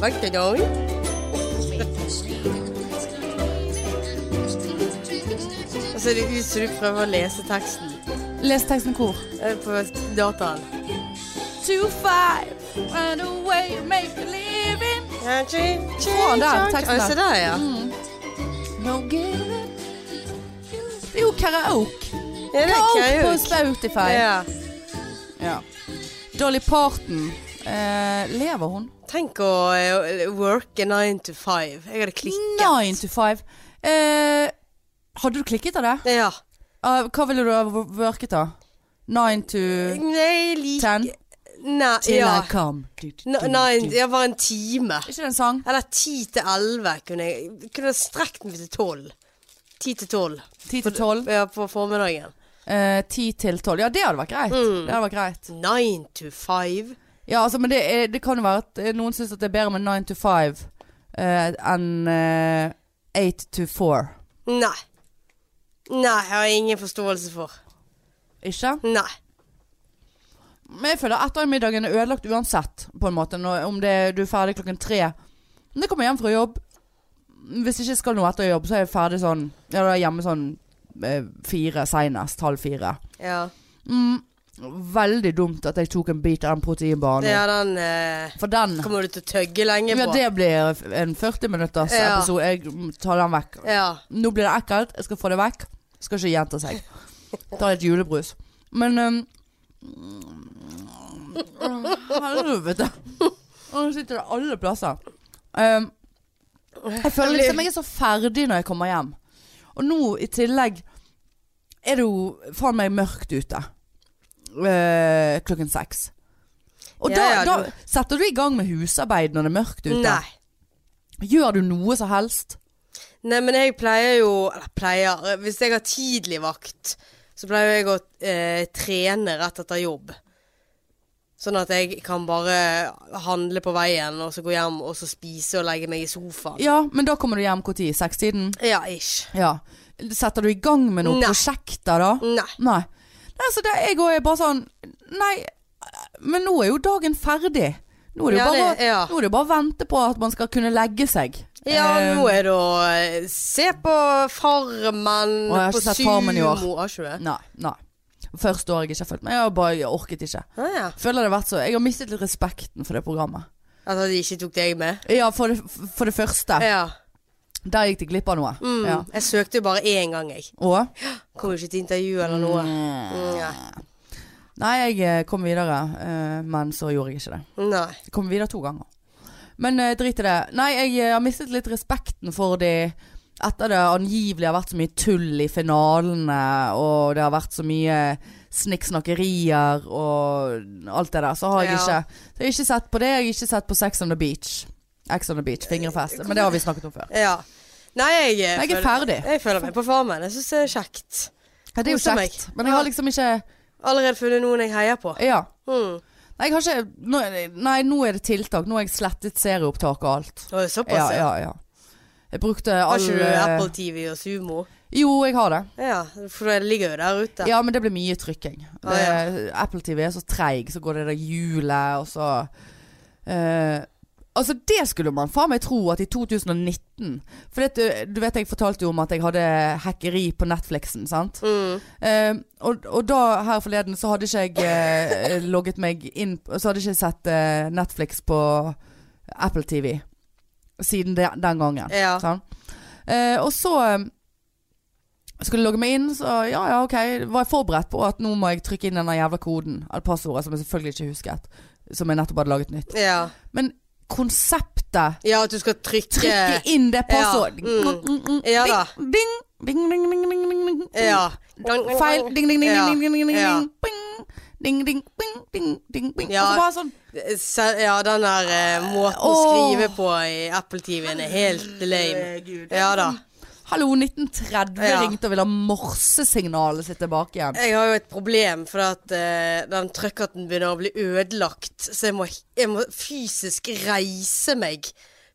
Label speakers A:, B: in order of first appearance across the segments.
A: Vart det då? Og så er Altså, det uttrykk fra å lese teksten
B: Les teksten hvor.
A: eh, på dataen.
B: Two five, run away, make a living.
A: Ja, chi- chi-
B: Å, der,
A: chi-
B: teksten
A: Å, Se
B: der.
A: der, ja.
B: No giving. Det er jo karaoke.
A: Ja, det er
B: Karaoke på
A: karaoke.
B: Spotify.
A: Ja.
B: Ja. Dolly Parton. Eh, lever hun?
A: Tenk å eh, worke nine to five. Jeg hadde klikket.
B: Nine to five. Eh, hadde du klikket av det?
A: Ja.
B: Eh, hva ville du ha w- worket av? Nine to
A: Nei, like
B: ten?
A: Nei,
B: Till
A: ja.
B: I come. Du, du,
A: N-
B: du,
A: Nei,
B: du.
A: det var en time.
B: Ikke det en sang?
A: Eller ti til elleve kunne jeg Kunne jeg strekt meg til tolv. Ti til tolv
B: Ti til tolv?
A: ja, på formiddagen.
B: Eh, Ti til tolv. Ja, det hadde vært greit.
A: Mm.
B: Det hadde vært greit.
A: Nine to five.
B: Ja, altså, men det, er, det kan jo være at eh, noen syns at det er bedre med nine to five eh, enn eh, eight to four.
A: Nei. Nei, jeg har ingen forståelse for.
B: Ikke?
A: Nei.
B: Men jeg føler ettermiddagen er ødelagt uansett, på en måte. Når, om det, du er ferdig klokken tre. Men jeg kommer hjem fra jobb. Hvis jeg ikke skal noe etter jobb, så er jeg ferdig sånn Ja, da er jeg hjemme sånn eh, fire seinest. Halv fire.
A: Ja,
B: Mm, veldig dumt at jeg tok en bit av den proteinbaren.
A: ja den eh,
B: For den
A: kommer du til å tøgge lenge
B: Ja,
A: på.
B: det blir en 40 minutters
A: Ja.
B: episode. Jeg mm, tar den vekk.
A: Ja.
B: Nå blir det ekkelt, jeg skal få det vekk. Skal ikke gjenta seg. Ta litt julebrus. Men um, Helvete. Nå sitter det alle plasser. Um, jeg føler liksom jeg er så ferdig når jeg kommer hjem. Og nå i tillegg er det jo faen meg mørkt ute. Eh, klokken seks. Og
A: Ja,
B: da,
A: ja, du-
B: da setter du i gang med husarbeid når det er mørkt ute.
A: Nei.
B: Gjør du noe som helst?
A: Nei, men jeg pleier jo Eller pleier Hvis jeg har tidlig vakt, så pleier jeg å eh, trene rett etter jobb. Sånn at jeg kan bare handle på veien, og så gå hjem og så spise og legge meg i sofaen.
B: Ja, men da kommer du hjem når? Sekstiden?
A: Ja, ish.
B: Ja. Setter du i gang med noen
A: Nei.
B: prosjekter da?
A: Nei.
B: Nei. Nei, så det jeg òg er bare sånn Nei, men nå er jo dagen ferdig. Nå er det jo
A: Ja,
B: bare,
A: det- ja.
B: nå er det jo bare å vente på at man skal kunne legge seg.
A: Ja,
B: Eh,
A: nå er det å eh, se på Farmen,
B: Å, jeg har
A: på
B: ikke sett
A: Sumo
B: Farmen i år.
A: Har ikke du det?
B: Ehm, Nei. nei. Første året jeg ikke har fulgt med. Jeg har bare jeg orket ikke.
A: Ah, ja.
B: Føler det har vært så Jeg har mistet litt respekten for det programmet.
A: At de ikke tok deg med?
B: Ja, for det, for det første.
A: Ja.
B: Der gikk de glipp av noe.
A: Mm.
B: Ja.
A: Jeg søkte jo bare én gang, jeg.
B: Og
A: Kom jo ikke til intervju eller noe. Mm, ja.
B: Nei, jeg eh, kom videre, eh, men så gjorde jeg ikke det.
A: Nei.
B: Jeg kom videre to ganger. Men eh, drit i det. Nei, jeg eh, har mistet litt respekten for de etter det angivelig har vært så mye tull i finalene, og det har vært så mye snikksnakkerier og alt det der, så har jeg
A: Ja.
B: ikke så jeg har ikke sett på det. Jeg har ikke sett på Sex on the Beach. X on the Beach,
A: Eh,
B: fingerfest. Men det har vi snakket om før.
A: Ja. Nei, jeg, eh,
B: Jeg er
A: føler-
B: ferdig.
A: Jeg føler meg på Farmen. Jeg syns det er kjekt.
B: Ja, det er jo
A: Koser meg.
B: kjekt, men jeg har liksom ikke
A: Allerede funnet noen jeg heier på.
B: Ja.
A: Mm.
B: Nei, jeg har ikke nå er det- Nei, nå er det tiltak. Nå har jeg slettet serieopptak og alt.
A: Og det er såpass,
B: Ja, ja, ja. Jeg brukte
A: Har
B: all
A: ikke du Apple TV og Sumo?
B: Jo, jeg har det.
A: Ja, for det ligger jo der ute.
B: Ja, men det blir mye trykking. Det,
A: Ah,
B: Apple TV er så treig, så går det der hjulet, og så eh, Altså, det skulle man faen meg tro at i 2019 For det, du vet, jeg fortalte jo om at jeg hadde hackeri på Netflixen, sant?
A: Mm.
B: Eh, og, og da, her forleden, så hadde ikke jeg eh, logget meg inn Så hadde ikke jeg sett eh, Netflix på Apple TV siden det, den gangen.
A: Ja.
B: Sånn. Eh, og så eh, skulle jeg logge meg inn, så ja, ja, ok. Var jeg forberedt på at nå må jeg trykke inn denne jævla koden, eller passordet, som jeg selvfølgelig ikke husket, som jeg nettopp hadde laget nytt.
A: ja.
B: Men konseptet
A: Ja, at du skal trykke
B: Trykke inn det passordet!
A: Ja, mm. Ja da.
B: Ding, ding, ding, ding, ding, ding, ding, ding.
A: Ja.
B: Feil. Ding, ding, ding,
A: Ja.
B: ding, ding, ding, ding,
A: Ja.
B: ding, bing. Ding, ding, bing, ding, ding, bing.
A: Ja.
B: Og så bare sånn
A: Se- Ja, den der eh, måten å
B: Åh.
A: skrive på i Apple TV-en er helt lame.
B: Herregud.
A: Ja da.
B: Hallo, 1930
A: Ja.
B: ringte og ville ha morsesignalet sitt tilbake igjen.
A: Jeg har jo et problem, for at eh, den trøkkerten begynner å bli ødelagt. Så jeg må, jeg må fysisk reise meg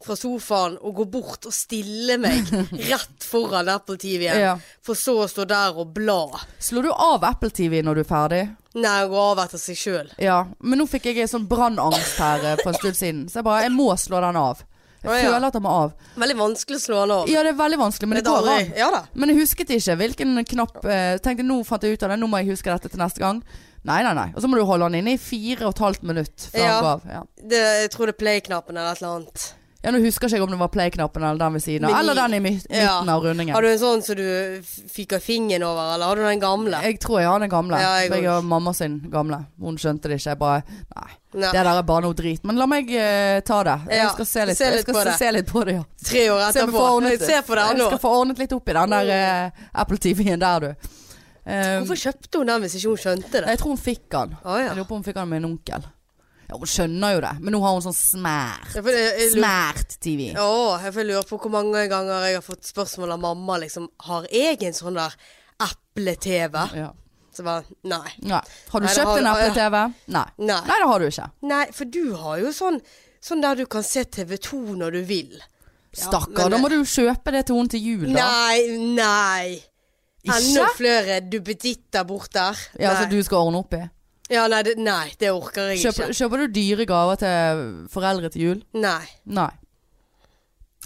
A: fra sofaen og gå bort og stille meg rett foran der politiet
B: Ja.
A: For så å stå der og bla.
B: Slår du av Apple TV når du er ferdig?
A: Nei, gå av etter seg sjøl.
B: Ja. Men nå fikk jeg en sånn brannangst her eh, for en stund siden. Så jeg bare Jeg må slå den av. Jeg
A: Å, ja.
B: føler at den må av.
A: Veldig vanskelig å slå han av.
B: Ja, det er veldig vanskelig, men det
A: er
B: går
A: aldri-
B: an.
A: Ja da.
B: Men jeg husket ikke hvilken knapp eh, Tenkte nå fant jeg ut av det, nå må jeg huske dette til neste gang. Nei, nei, nei. Og så må du holde den inne i fire og et halvt minutt før
A: Ja.
B: den går av. Ja.
A: Det, jeg tror det er play-knappen eller et eller annet.
B: ja, nå husker ikke jeg om det var play-knappen eller den ved siden av.
A: Meny.
B: Eller den i mi- midten
A: Ja.
B: av rundingen.
A: Har du en sånn som du f- fyker fingeren over, eller har du den gamle?
B: Jeg tror jeg har den gamle.
A: Ja, jeg
B: jeg
A: også.
B: har mamma sin gamle. Hun skjønte det ikke. Jeg bare Nei,
A: Nei.
B: det der er bare noe drit. Men la meg eh, ta det.
A: Ja,
B: Jeg skal se litt,
A: se litt
B: jeg skal
A: på
B: se,
A: det.
B: se litt på det, ja.
A: Tre år
B: Se
A: etterpå. Se på det nå.
B: Jeg
A: Mm.
B: skal få ordnet litt opp i den der eh, Apple TV-en der, du. Eh,
A: Hvorfor kjøpte hun den hvis ikke hun skjønte det?
B: jeg tror hun fikk den.
A: Å ja.
B: Jeg lurer på om hun fikk den med en onkel. Ja, Hun skjønner jo det, men nå har hun sånn smært.
A: Ja, for jeg- jeg lurer-
B: Smært TV.
A: Åh, jeg får lure på hvor mange ganger jeg har fått spørsmål av mamma liksom Har jeg en sånn der eple-TV?
B: Ja.
A: Så bare nei.
B: Nei. Har du
A: Nei, det
B: kjøpt
A: har-
B: en Apple TV? Nei.
A: Nei.
B: Nei, det har du ikke.
A: Nei, for du har jo sånn Sånn der du kan se TV 2 når du vil. Ja,
B: Stakkar,
A: men-
B: da må du jo kjøpe det til henne til jul, da.
A: Nei, nei. Enda
B: Ikke?
A: flere duppeditter bort der.
B: Ja,
A: nei.
B: så du skal ordne opp i.
A: ja nei, det, nei, det orker jeg
B: Kjøper,
A: ikke.
B: kjøper du dyre gaver til foreldre til jul?
A: Nei.
B: Nei.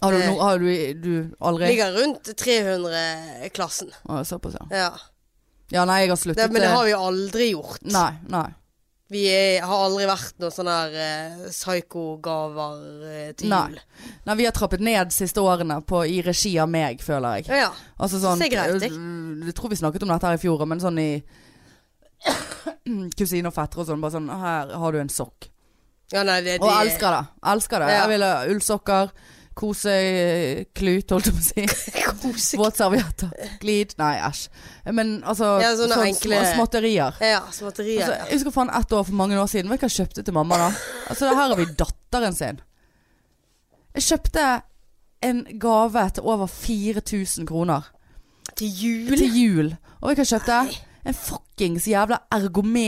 B: Har du,
A: Eh.
B: no, har du, du aldri
A: Ligger rundt 300-klassen.
B: Å, Såpass, ja.
A: Ja.
B: Ja, nei, jeg har sluttet
A: Det, men det
B: eh,
A: har vi aldri gjort.
B: Nei. nei
A: Vi er, har aldri vært noen sånne her uh, psyko-gaver eh, til
B: Nei.
A: jul.
B: Nei, vi har trappet ned siste årene på, i regi av meg, føler jeg.
A: Ja, ja.
B: Altså sånn
A: Det er greit, jeg.
B: øh, Jeg tror vi snakket om dette her i fjor, men sånn i Kusine og fettere og sånn. Bare sånn Her har du en sokk.
A: ja nei, det, det,
B: Og elsker det. Elsker det.
A: Ja.
B: Jeg vil ha ullsokker, koseklut, holdt jeg på å si.
A: Kose-
B: Våtservietter. Glid. Nei, æsj. Men altså
A: Ja, sånne
B: sånn
A: enkle-
B: små- småtterier.
A: Ja, småtterier.
B: Altså,
A: ja.
B: jeg husker faen ett år for mange år siden. Vet du hva jeg kjøpte til mamma da? Altså, her har vi datteren sin. Jeg kjøpte en gave til over 4000 kroner
A: Til jul?
B: til jul. Og vet du hva jeg kjøpte? En fuckings jævla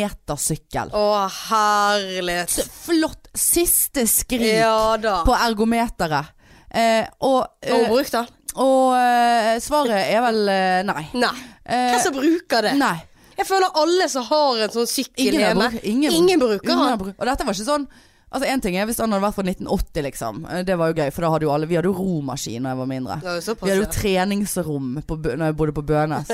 B: ergometersykkel. Altså,
A: Å, herlighet.
B: Flott siste skrik
A: Ja da.
B: på ergometeret. Eh, og,
A: Har
B: eh,
A: hun brukt den?
B: og eh, svaret er vel eh, nei.
A: Nei.
B: Eh,
A: Hvem som bruker det?
B: Nei.
A: Jeg føler alle som har en sånn sykkel
B: Ingen, har
A: hjemme
B: bruk- ingen,
A: Ingen bruker
B: ingen
A: han.
B: har bruk- Og dette var ikke sånn Altså En ting er hvis han hadde vært fra 1980, liksom. Eh, Det var jo gøy, for da hadde jo alle Vi hadde jo romaskin da jeg var mindre.
A: Det var jo såpass,
B: Vi hadde jo
A: ja.
B: treningsrom på, Bø- når jeg bodde på Bønes.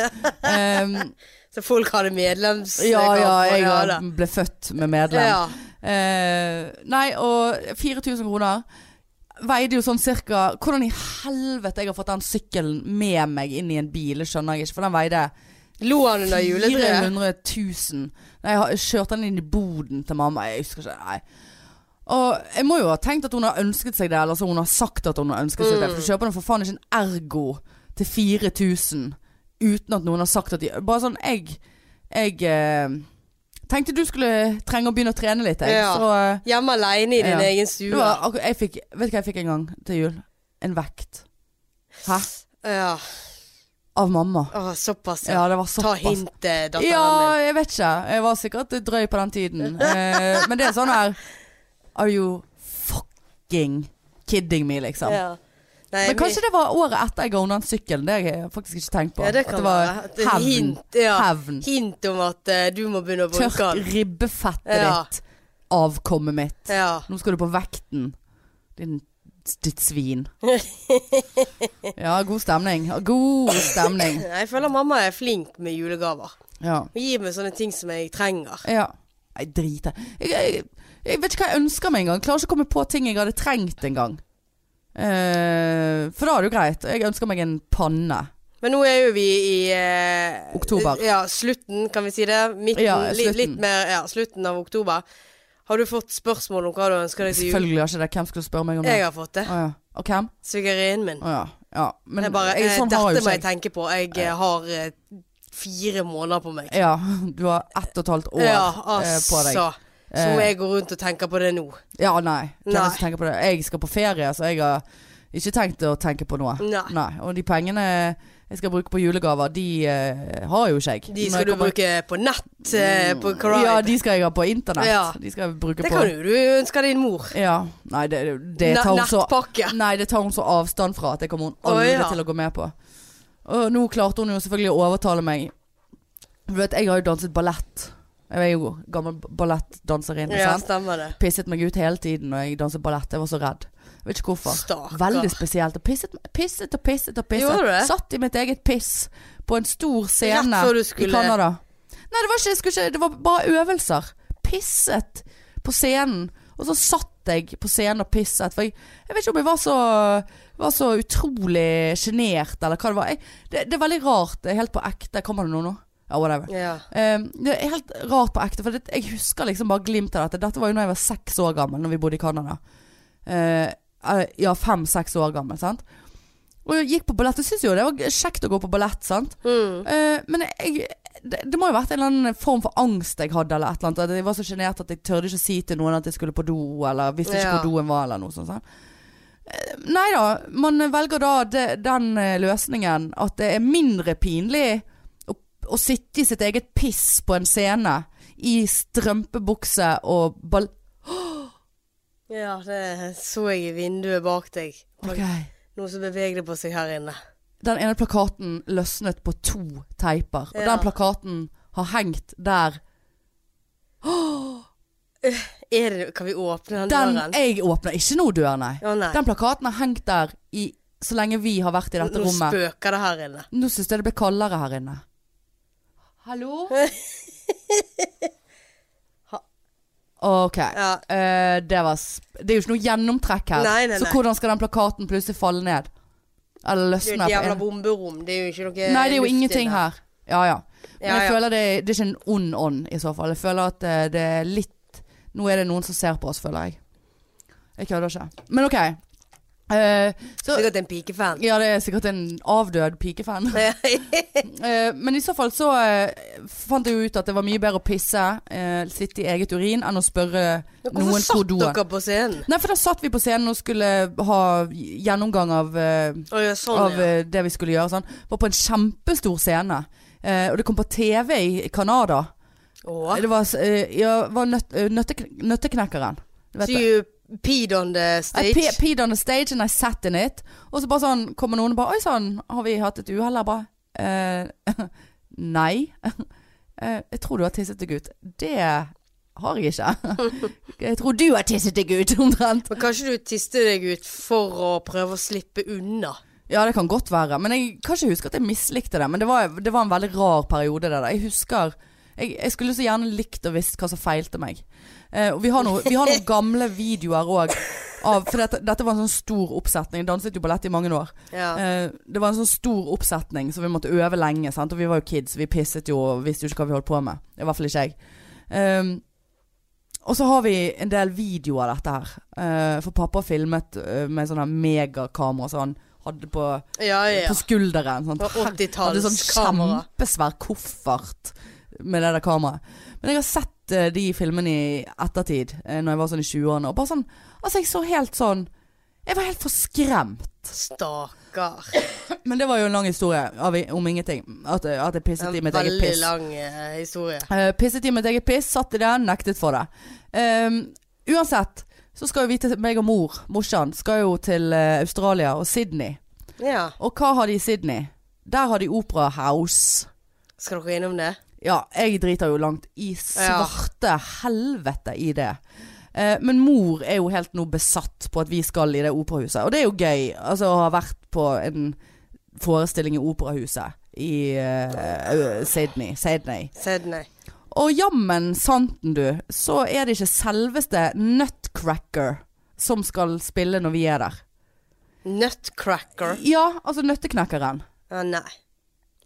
B: um,
A: Så folk hadde medlems...
B: ja, ja, jeg
A: ja,
B: var-
A: da.
B: ble født med medlem.
A: ja.
B: Eh, nei, og 4000 kroner veide jo sånn cirka Hvordan i helvete jeg har fått den sykkelen med meg inn i en bil, det skjønner jeg ikke. For den veide
A: Lo han under juletreet?
B: 400 000. Nei, jeg har- jeg kjørte den inn i boden til mamma. Jeg husker ikke. Nei. Og jeg må jo ha tenkt at hun har ønsket seg det, eller så hun har sagt at hun har ønsket seg det.
A: Mm.
B: For du kjøper nå for faen ikke en Ergo til 4000 uten at noen har sagt at de Bare sånn, jeg Jeg eh, tenkte du skulle trenge å begynne å trene litt, jeg.
A: Ja.
B: Så eh,
A: Hjemme aleine i din
B: Ja.
A: egen
B: det
A: stue?
B: var, akkur- jeg fikk, vet du hva jeg fikk en gang til jul? En vekt. Hæ?
A: Ja.
B: Av mamma.
A: Å, såpass, ja.
B: Ja, det var
A: Ta
B: såpass.
A: hintet, datteren
B: Ja,
A: min.
B: jeg vet ikke. Jeg var sikkert drøy på den tiden. Eh, men det er sånn her Are you fucking kidding me, liksom?
A: Ja. Nei,
B: Men kanskje det var året etter jeg ownet den sykkelen. Det har jeg faktisk ikke tenkt på.
A: ja, det kan
B: At det var
A: være. Et
B: hevn.
A: Hint, ja.
B: Hevn.
A: hint om at eh, du må begynne å bruke
B: Tørk
A: den.
B: ribbefettet
A: Ja.
B: ditt. Avkommet mitt.
A: Ja.
B: Nå skal du på vekten. Din, ditt svin. Ja, god stemning. God stemning.
A: Nei, Jeg føler mamma er flink med julegaver.
B: Ja.
A: Hun gir meg sånne ting som jeg trenger.
B: Ja. Nei, drit i jeg, jeg, jeg vet ikke hva jeg ønsker meg engang. Klarer ikke å komme på ting jeg hadde trengt engang. Uh, for da er det jo greit. Jeg ønsker meg en panne.
A: Men nå er jo vi i eh,
B: Oktober.
A: Ja, slutten, kan vi si det? Midten,
B: Ja,
A: li-
B: slutten.
A: Litt mer, ja, slutten av oktober. Har du fått spørsmål om hva du ønsker deg til jul?
B: Selvfølgelig har ikke det. Hvem skulle spørre meg om det?
A: Jeg har fått det.
B: Å ja. Og hvem?
A: Svigerinnen min.
B: Å ja. ja. Men
A: Jeg bare,
B: jeg,
A: eh,
B: sånn har
A: dette
B: jo
A: må
B: ikke
A: jeg
B: jeg.
A: tenke på. Jeg eh, har eh, fire måneder på meg.
B: Ja, du har ett og et halvt år
A: ja,
B: eh,
A: altså.
B: på deg. Eh.
A: Så må jeg gå rundt og tenke på det nå.
B: Ja, nei.
A: Nei.
B: Hvem er det som tenker på det? Jeg skal på ferie, så jeg har ikke tenkt å tenke på noe.
A: Nei.
B: Og de pengene jeg skal bruke på julegaver, de eh, har jo ikke jeg.
A: De
B: Når
A: skal
B: jeg
A: du
B: kommer- Mm.
A: bruke på nett eh, på Cribe.
B: Ja, de skal jeg ha på internett.
A: Ja.
B: De skal jeg bruke
A: det
B: på
A: kan jo du ønske din mor.
B: Ja. Nei, det, det
A: Ne-
B: tar hun så
A: Nettpakke.
B: Nei, det tar hun så avstand fra at det kommer hun
A: Å,
B: aldri
A: ja.
B: til å gå med på. Og nå klarte hun jo selvfølgelig å overtale meg. Du vet, jeg har jo danset ballett. Jeg er jo gammel ballettdanserin.
A: Ja,
B: sant?
A: stemmer det.
B: pisset meg ut hele tiden når jeg danset ballett. Jeg var så redd. Jeg vet ikke hvorfor.
A: Stakkar.
B: Veldig spesielt. Og pisset, pisset og pisset og pisset.
A: Gjorde du det?
B: Satt i mitt eget piss på en stor scene
A: Rett før du
B: i
A: skulle-
B: Canada. Nei, det var, ikke, jeg skulle ikke, det var bare øvelser. Pisset på scenen. Og så satt jeg på scenen og pisset. For jeg, jeg vet ikke om jeg var så, var så utrolig sjenert, eller hva det var. Jeg, det, det er veldig rart. Det er Helt på ekte. Kommer det noe nå? Ja, whatever.
A: Ja.
B: Eh, det er helt rart på ekte, for det, jeg husker liksom bare glimt av dette. Dette var jo da jeg var seks år gammel, når vi bodde i Canada. Eh, eh, ja, fem-seks år gammel, sant. Og jeg gikk på ballett. Jeg syntes jo det var kjekt å gå på ballett, sant.
A: Mm.
B: Eh, men jeg, det, det må jo ha vært en eller annen form for angst jeg hadde, eller et eller annet. At Jeg var så sjenert at jeg tørde ikke å si til noen at jeg skulle på do, eller visste ikke
A: Ja.
B: hvor doen var, eller noe sånt. sant? Eh, Nei da, man velger da de, den eh, løsningen at det er mindre pinlig å, å sitte i sitt eget piss på en scene i strømpebukse og ball...
A: ja, det så jeg i vinduet bak deg.
B: Ok.
A: Noe som bevegde på seg her inne.
B: Den ene plakaten løsnet på to teiper, og
A: Ja.
B: den plakaten har hengt der
A: Er det, kan vi åpne den,
B: Den,
A: døren?
B: jeg åpner ikke noen dør, nei.
A: Å nei.
B: Den plakaten har hengt der i så lenge vi har vært i dette
A: Nå
B: rommet.
A: spøker det her inne.
B: Nå syns jeg det blir kaldere her inne. Hallo? OK.
A: Ja.
B: Eh, det, var sp det er jo ikke noe gjennomtrekk her.
A: Nei, nei,
B: så
A: nei.
B: hvordan skal den plakaten plutselig falle ned?
A: Det
B: Eller
A: er
B: løsne?
A: jo et jævla
B: på en-
A: bomberom. Det er jo ikke noe
B: Sånn Nei, det er jo
A: luft
B: ingenting
A: inne.
B: her. Ja ja. Men
A: Ja,
B: jeg
A: ja.
B: føler det, det er ikke en ond ånd i så fall. Jeg føler at eh, det er litt Nå er det noen som ser på oss, føler jeg. Jeg kødder ikke. Men OK. Eh, så,
A: Sikkert en pikefan.
B: ja, det er sikkert en avdød pikefan. Eh, men i så fall så eh, fant jeg jo ut at det var mye bedre å pisse, eh, sitte i eget urin, enn å spørre
A: Hvorfor
B: noen hvor
A: satt
B: doen
A: dere på scenen?
B: Nei, for da satt vi på scenen og skulle ha gjennomgang av, eh,
A: Å ja, sånn,
B: av
A: ja.
B: eh, det vi skulle gjøre. Sånn. Var på en kjempestor scene. Eh, og det kom på TV i Canada.
A: Å.
B: Det var, s- eh, ja, var nøtt, eh, nøttekn- Nøtteknekkeren. Du vet
A: So
B: det.
A: you peed on the
B: I
A: stage?
B: pe- peed on the stage and I sat in it. Og så bare sånn kommer noen og bare Oi sann, har vi hatt et uhell her? Bare eh, Nei. Eh, jeg tror du har tisset deg ut. Det har jeg ikke. jeg tror du har tisset deg ut, omtrent.
A: Men kanskje du tiste deg ut for å prøve å slippe unna?
B: Ja, det kan godt være. Men jeg kan ikke huske at jeg mislikte det. Men det var, det var en veldig rar periode, det der. Jeg husker jeg, jeg skulle så gjerne likt og visst hva som feilte meg. Eh, og vi har noe- vi har noen gamle videoer òg. For dette, dette var en sånn stor oppsetning. Jeg danset jo ballett i mange år.
A: Ja.
B: Eh, det var en sånn stor oppsetning, så vi måtte øve lenge. Sant? Og vi var jo kids, vi pisset jo og visste jo ikke hva vi holdt på med. I hvert fall ikke jeg. Ehm, og så har vi en del videoer av dette her. Eh, for pappa filmet eh, med sånne megakamera som han hadde på,
A: ja, ja. ja.
B: på skulderen. Sånn,
A: På
B: hadde sånn
A: 80-tallskamera.
B: kjempesvær koffert med det der kameraet. Men jeg har sett eh, de filmene i ettertid, uh, når jeg var sånn i 20-årene, og bare sånn Altså, jeg så helt sånn Jeg var helt forskremt.
A: Stakkar.
B: Men det var jo en lang historie av, om ingenting. At, eh, at jeg pisset i
A: En
B: mitt eget
A: veldig
B: piss.
A: lang eh, historie.
B: Eh, pisset i mitt eget piss, satt i det, nektet for det. Ehm, uansett så skal jo vi til meg og mor, morsan, skal jo til eh, Australia og Sydney.
A: Ja.
B: Og hva har de i Sydney? Der har de Opera House.
A: Skal dere innom det?
B: Ja, jeg driter jo langt i svarte helvete i det. Eh, men mor er jo helt nå besatt på at vi skal i det operahuset. Og det er jo gøy. Altså å ha vært på en forestilling i operahuset i eh, Sydney. Sydney.
A: Sydney.
B: Og jammen santen, du, så er det ikke selveste Nutcracker som skal spille når vi er der.
A: Nutcracker.
B: Ja, altså Nøtteknekkeren.
A: Å nei.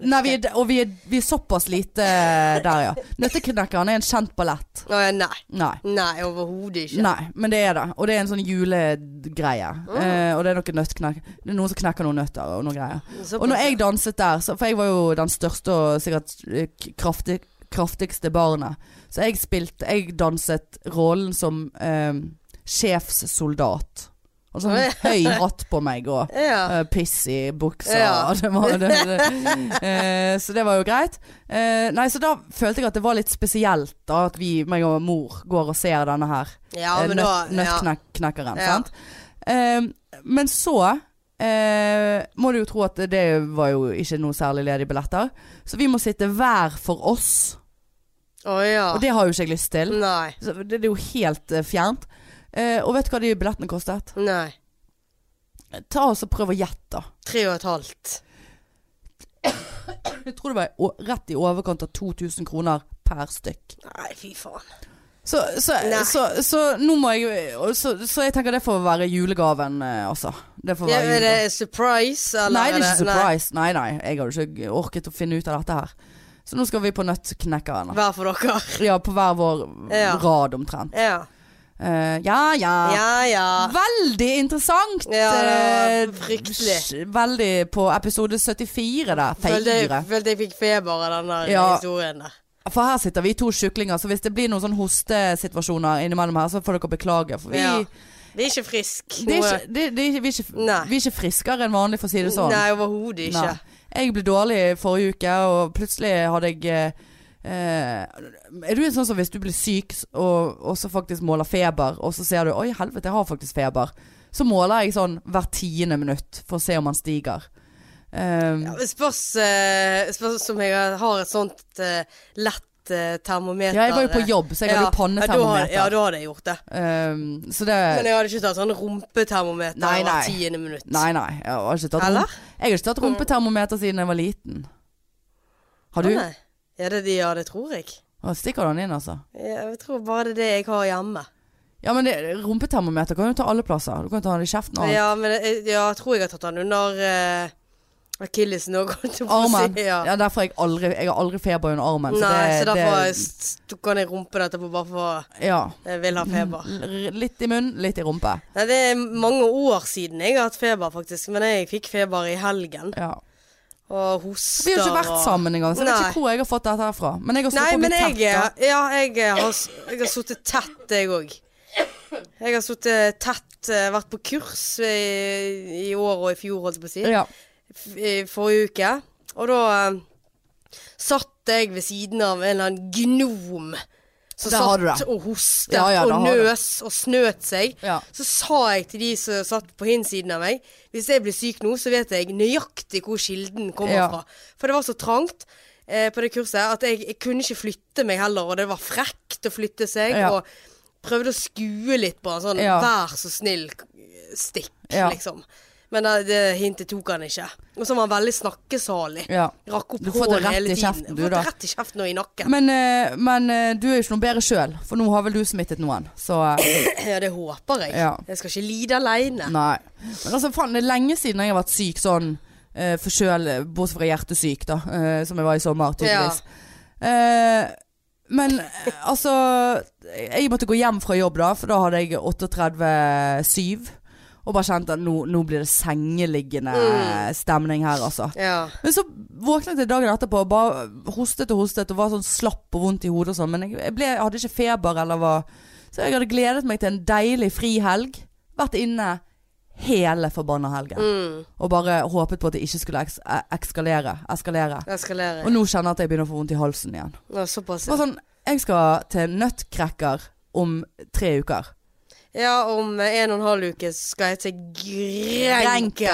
B: Nei, vi er, d- og vi er, vi er såpass lite der, ja. Nøtteknekkeren er en kjent ballett.
A: Å ja, nei.
B: Nei.
A: Nei, overhodet ikke.
B: Nei, men det er det. Og det er en sånn julegreie. Eh, og det er noen nøttknekk Det er noen som knekker noen nøtter og noen greier.
A: Så-
B: Og når jeg danset der, så, for jeg var jo den største og sikkert eh, k- kraftig, kraftigste barnet, så jeg spilte Jeg danset rollen som eh, sjefssoldat. Og sånn høy hatt på meg og
A: Ja.
B: eh, piss i buksa.
A: Ja.
B: Det var, det, det. Eh, så det var jo greit. Eh, nei, så da følte jeg at det var litt spesielt da, at vi, meg og mor, går og ser denne her
A: ja,
B: eh,
A: men da
B: nøtt-
A: ja.
B: nøttknekkeren.
A: Ja.
B: Sant? Ehm, men så eh, må du jo tro at det var jo ikke noe særlig ledige billetter. Så vi må sitte hver for oss,
A: Å ja.
B: og det har jo ikke jeg lyst til.
A: Nei.
B: Så det det er jo helt eh, fjernt. Eh, og vet du hva de billettene kostet?
A: Nei.
B: Ta oss og Prøv å gjette. da.
A: Tre og et halvt.
B: Jeg tror det var i å- rett i overkant av 2000 kroner per stykk.
A: Nei, fy faen.
B: Så, så,
A: Nei.
B: så, så, nå må jeg og så, så jeg tenker det får være julegaven, eh, altså. Det får
A: Ja,
B: være
A: er det
B: julegaven.
A: surprise, eller?
B: Nei, det er ikke surprise. Nei, nei. Jeg hadde ikke orket å finne ut av dette her. Så nå skal vi på Nøttknekkeren.
A: Hver for dere.
B: Ja, på hver vår
A: Ja.
B: rad omtrent.
A: Ja.
B: Eh, ja, ja,
A: Ja, ja.
B: Veldig interessant.
A: Ja, det var
B: Eh,
A: fryktelig.
B: sj- Veldig på episode 74 der.
A: Følte jeg,
B: Feire.
A: følte jeg fikk feber av den der
B: Ja.
A: historien der.
B: For her sitter vi to kyklinger, så hvis det blir noen sånn hostesituasjoner innimellom her, så får dere beklage. For vi,
A: Ja. Vi er ikke friske.
B: det er ikke, det, det er ikke, vi, er ikke,
A: Nei.
B: vi er ikke friskere enn vanlig, for å si det sånn.
A: Nei, overhodet ikke.
B: Nei. Jeg ble dårlig forrige uke, og plutselig hadde jeg eh, eh, Er du en sånn som hvis du blir syk s- og, og så faktisk måler feber, og så ser du Oi, helvete, jeg har faktisk feber. Så måler jeg sånn hvert tiende minutt for å se om han stiger. Um,
A: Ja, men Spørs, eh, spørs om jeg har et sånt eh, lett eh, termometer.
B: ja, jeg var jo på jobb, så jeg hadde jo
A: Ja, da
B: pannetermometer.
A: hadde- ja, da hadde jeg gjort det.
B: Um, så det
A: Men jeg hadde ikke tatt sånn rumpetermometer
B: Nei, nei.
A: hvert tiende minutt.
B: Nei, nei. Jeg har ikke tatt,
A: Eller?
B: rump- jeg har ikke tatt rumpetermometer siden jeg var liten. Har du?
A: Å, nei. Ja, det, ja, det tror jeg.
B: Å, Stikker du den inn, altså?
A: Ja, Jeg tror bare det er det jeg har hjemme.
B: Ja, men det, rumpetermometer kan jo ta alle plasser. Du kan ta den i kjeften og alt.
A: Ja, men jeg, ja, jeg tror jeg har tatt den under eh, akillesen òg.
B: Armen.
A: Ja.
B: Ja, derfor har jeg aldri, jeg har aldri feber under armen.
A: Nei,
B: det,
A: så derfor
B: det-
A: s- s- kan jeg rumpe dette på bare for
B: ja.
A: jeg vil ha feber.
B: L- Litt i munn, litt i rumpe.
A: Nei, det er mange år siden jeg har hatt feber, faktisk. Men jeg fikk feber i helgen.
B: Ja.
A: Og hoster
B: Vi har ikke vært
A: og-
B: sammen engang, så jeg vet
A: Nei.
B: ikke hvor jeg har fått dette herfra. Men jeg har
A: Nei,
B: sittet på
A: men
B: mitt
A: jeg, ja,
B: tett.
A: jeg har, s- jeg har sittet tett, jeg òg. Jeg har sittet tett, eh, vært på kurs i, i år og i fjor, holdt jeg på å si.
B: da. Ja.
A: f- i forrige uke. Og da eh, satt jeg ved siden av en eller annen gnom som
B: Der har du
A: satt
B: det.
A: og hostet
B: Ja, ja, der
A: og
B: har du det.
A: nøs og snøt seg.
B: Ja.
A: Så sa jeg til de som satt på hinsiden av meg Hvis jeg blir syk nå, så vet jeg nøyaktig hvor kilden kommer
B: Ja.
A: fra. For det var så trangt eh, på det kurset at jeg, jeg kunne ikke flytte meg heller, og det var frekt å flytte seg.
B: Ja.
A: Og prøvde å skue litt på han sånn
B: Ja.
A: Vær så snill, stikk,
B: Ja.
A: liksom. Men det, det hintet tok han ikke. Og så var han veldig snakkesalig.
B: ja.
A: Rakk opp
B: Du får det
A: håret
B: rett
A: hele
B: i
A: tiden.
B: kjeften,
A: Du
B: du,
A: får det
B: da.
A: rett i kjeften og i nakken.
B: Men, eh, men eh, du er jo ikke noe bedre sjøl, for nå har vel du smittet noen. Så eh,
A: ja, det håper jeg.
B: Ja. Mm.
A: Jeg skal ikke lide aleine.
B: nei. Men altså, faen, det er lenge siden jeg har vært syk sånn uh, for sjøl, eh, bortsett fra hjertesyk, da, eh, som jeg var i sommer,
A: Ja.
B: tydeligvis. Eh, men eh, altså Jeg måtte gå hjem fra jobb da, for da hadde jeg 38,7. Og bare kjente at nå, nå blir det sengeliggende
A: Mm.
B: stemning her, altså.
A: Ja.
B: Men så våknet jeg dagen etterpå og bare hostet og hostet og var sånn slapp og vondt i hodet og sånn. Men jeg, jeg, ble, jeg hadde ikke feber eller hva. Så jeg hadde gledet meg til en deilig frihelg. Vært inne hele forbanna helgen.
A: Mm.
B: Og bare håpet på at det ikke skulle eks eh, eskalere. eskalere.
A: Eskalerer.
B: Og nå kjenner jeg at jeg begynner å få vondt i halsen igjen.
A: Ja, såpass.
B: Bare sånn, jeg skal til nøttkrekker om tre uker.
A: Ja, om eh, en og en halv uke skal jeg til Grenke.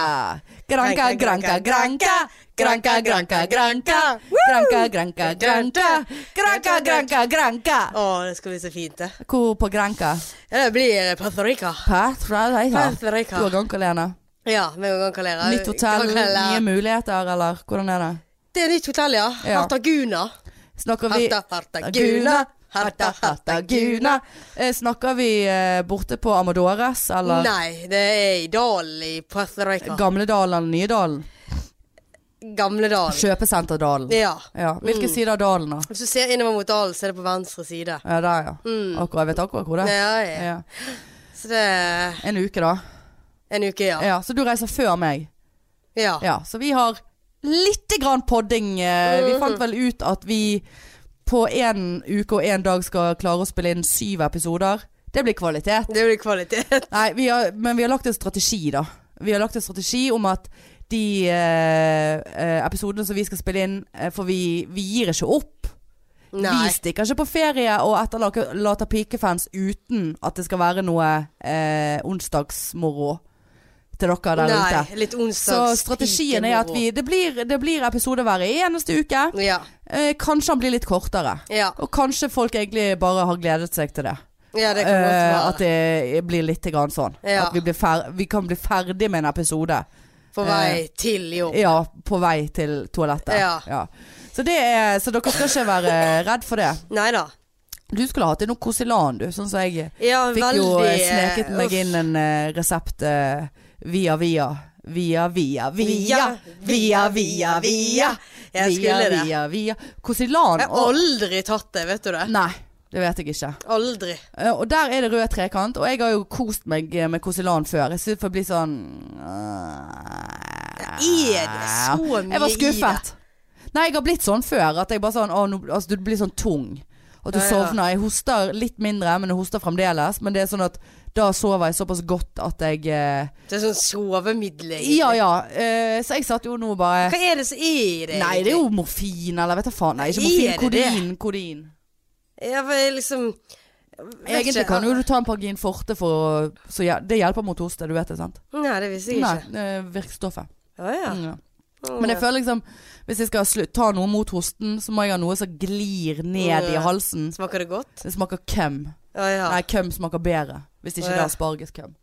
B: Granka, granka, granka. Granka, granka, granka. Granka, granka, granka. Granka, granka, granka.
A: Å, det skal bli så fint, det.
B: Hvor på granka?
A: Ja, det blir eh, Puerto Rico.
B: Pat fra deg, ja.
A: Puerto
B: Du
A: Rico.
B: har gang, Lene.
A: Ja, med en gang kalera.
B: Nytt hotell, nye muligheter, eller hvordan er det?
A: Det er nytt hotell, ja.
B: Ja.
A: Hartaguna.
B: Snakker vi
A: Harta, Hartaguna. Harta, Hartaguna.
B: Eh, Snakker vi eh, borte på Amadores, eller
A: Nei, det er i dalen i Puerto Rico.
B: Gamledalen eller Nydalen?
A: Gamledalen.
B: Kjøpesenterdalen.
A: Ja.
B: Ja. Hvilken side av dalen, da?
A: Hvis du ser innover mot dalen, så er det på venstre side. Mm.
B: Ja, der, ja. Akkurat, jeg vet akkurat hvor det er.
A: Ja, ja.
B: Ja.
A: Så det er
B: En uke, da.
A: en uke, ja. Ah.
B: Ja, så du reiser før meg.
A: Ja.
B: Ja, så vi har lite grann podding. eh, Vi
A: Mhm.
B: fant vel ut at vi på én uke og én dag skal klare å spille inn syv episoder. Det blir kvalitet.
A: Det blir kvalitet.
B: Nei, vi har, men vi har lagt en strategi, da. Vi har lagt en strategi om at de eh, eh, episodene som vi skal spille inn eh, For vi, vi gir ikke opp.
A: Nei.
B: Vi stikker ikke på ferie og etterlater pikefans uten at det skal være noe eh, onsdagsmoro til dere der
A: Nei,
B: ute.
A: litt
B: Så
A: onsdags
B: strategien er at vi, det, blir, det blir episode hver eneste uke.
A: Ja.
B: Eh, kanskje han blir litt kortere.
A: Ja,
B: Og kanskje folk egentlig bare har gledet seg til det.
A: ja det kan godt
B: Eh,
A: være.
B: at det blir litt grann sånn.
A: Ja.
B: At vi, blir fer vi kan bli ferdig med en episode.
A: På
B: eh,
A: vei til jobb.
B: Ja, på vei til toalettet.
A: Ja.
B: Så, det er, så dere skal ikke være redd for det.
A: Nei da.
B: Du skulle hatt inn noe Kosilan, du. Sånn som jeg
A: Ja,
B: fikk
A: veldig
B: jo eh,
A: eh,
B: sneket meg
A: uff.
B: inn en eh, resept eh, via via. Via, via, via. Via, via, via.
A: Jeg
B: via,
A: skulle det.
B: via, via. Kosilan.
A: Jeg har aldri tatt det, vet du det.
B: Nei, det vet jeg ikke.
A: Aldri.
B: Eh, Og der er det rød trekant, og jeg har jo kost meg eh, med Kosilan før. Jeg synes det blir sånn eh,
A: Er det så mye
B: Jeg var
A: i det?
B: skuffet. Nei, jeg har blitt sånn før. At jeg bare sånn, å, nå, altså, du blir sånn tung. At du
A: Ja, ja.
B: sovner. Jeg hoster litt mindre, men jeg hoster fremdeles. Men det er sånn at da sover jeg såpass godt at jeg eh,
A: Det er sånn sovemiddel. egentlig.
B: Ja, ja. eh, så jeg satt jo nå og bare
A: Hva er det som er i det?
B: Nei, det er
A: egentlig?
B: jo morfin, eller vet du faen. Nei, ikke
A: Nei,
B: morfin.
A: er det det?
B: Kodin. kodin.
A: Ja, for jeg liksom vet
B: Egentlig
A: ikke.
B: kan jo du ta en Pargin Forte for å så hjel- Det hjelper mot hoste, du vet det, sant?
A: Nei, det visste jeg
B: Nei,
A: ikke.
B: eh, virkstoffet.
A: Å ja.
B: Mm, ja. Men jeg føler liksom Hvis jeg skal slu- ta noe mot hosten, så må jeg ha noe som glir ned i
A: Mm.
B: halsen.
A: Smaker det godt?
B: Det smaker køm.
A: Å ja.
B: Nei, køm smaker bedre. Hvis ikke
A: Å,
B: det
A: ja.
B: er aspargeskøm.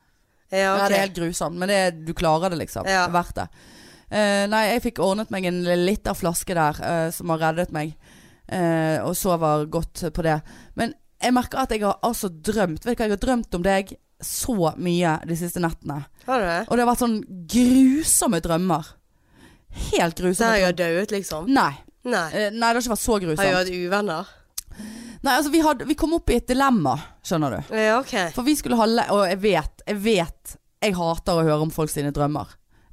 A: ja,
B: Nei,
A: ok.
B: det er helt grusomt, men det er, du klarer det, liksom.
A: Ja.
B: Det er verdt det. Eh, nei, jeg fikk ordnet meg en liter flaske der eh, som har reddet meg, eh, og sover godt på det. Men jeg merker at jeg har altså drømt Vet du hva, jeg har drømt om deg så mye de siste nettene.
A: Har du det?
B: Og det har vært sånn grusomme drømmer. Helt
A: Der
B: grusomme
A: jeg
B: drømmer.
A: har dødd, liksom?
B: Nei.
A: Nei.
B: Eh, Nei, det har ikke vært så
A: Har jeg
B: grusomt.
A: hatt uvenner?
B: Nei, altså vi, hadde, vi kom opp i et dilemma, skjønner du.
A: Ja, OK.
B: For vi skulle ha le- Og jeg vet, jeg vet Jeg hater å høre om folk sine drømmer.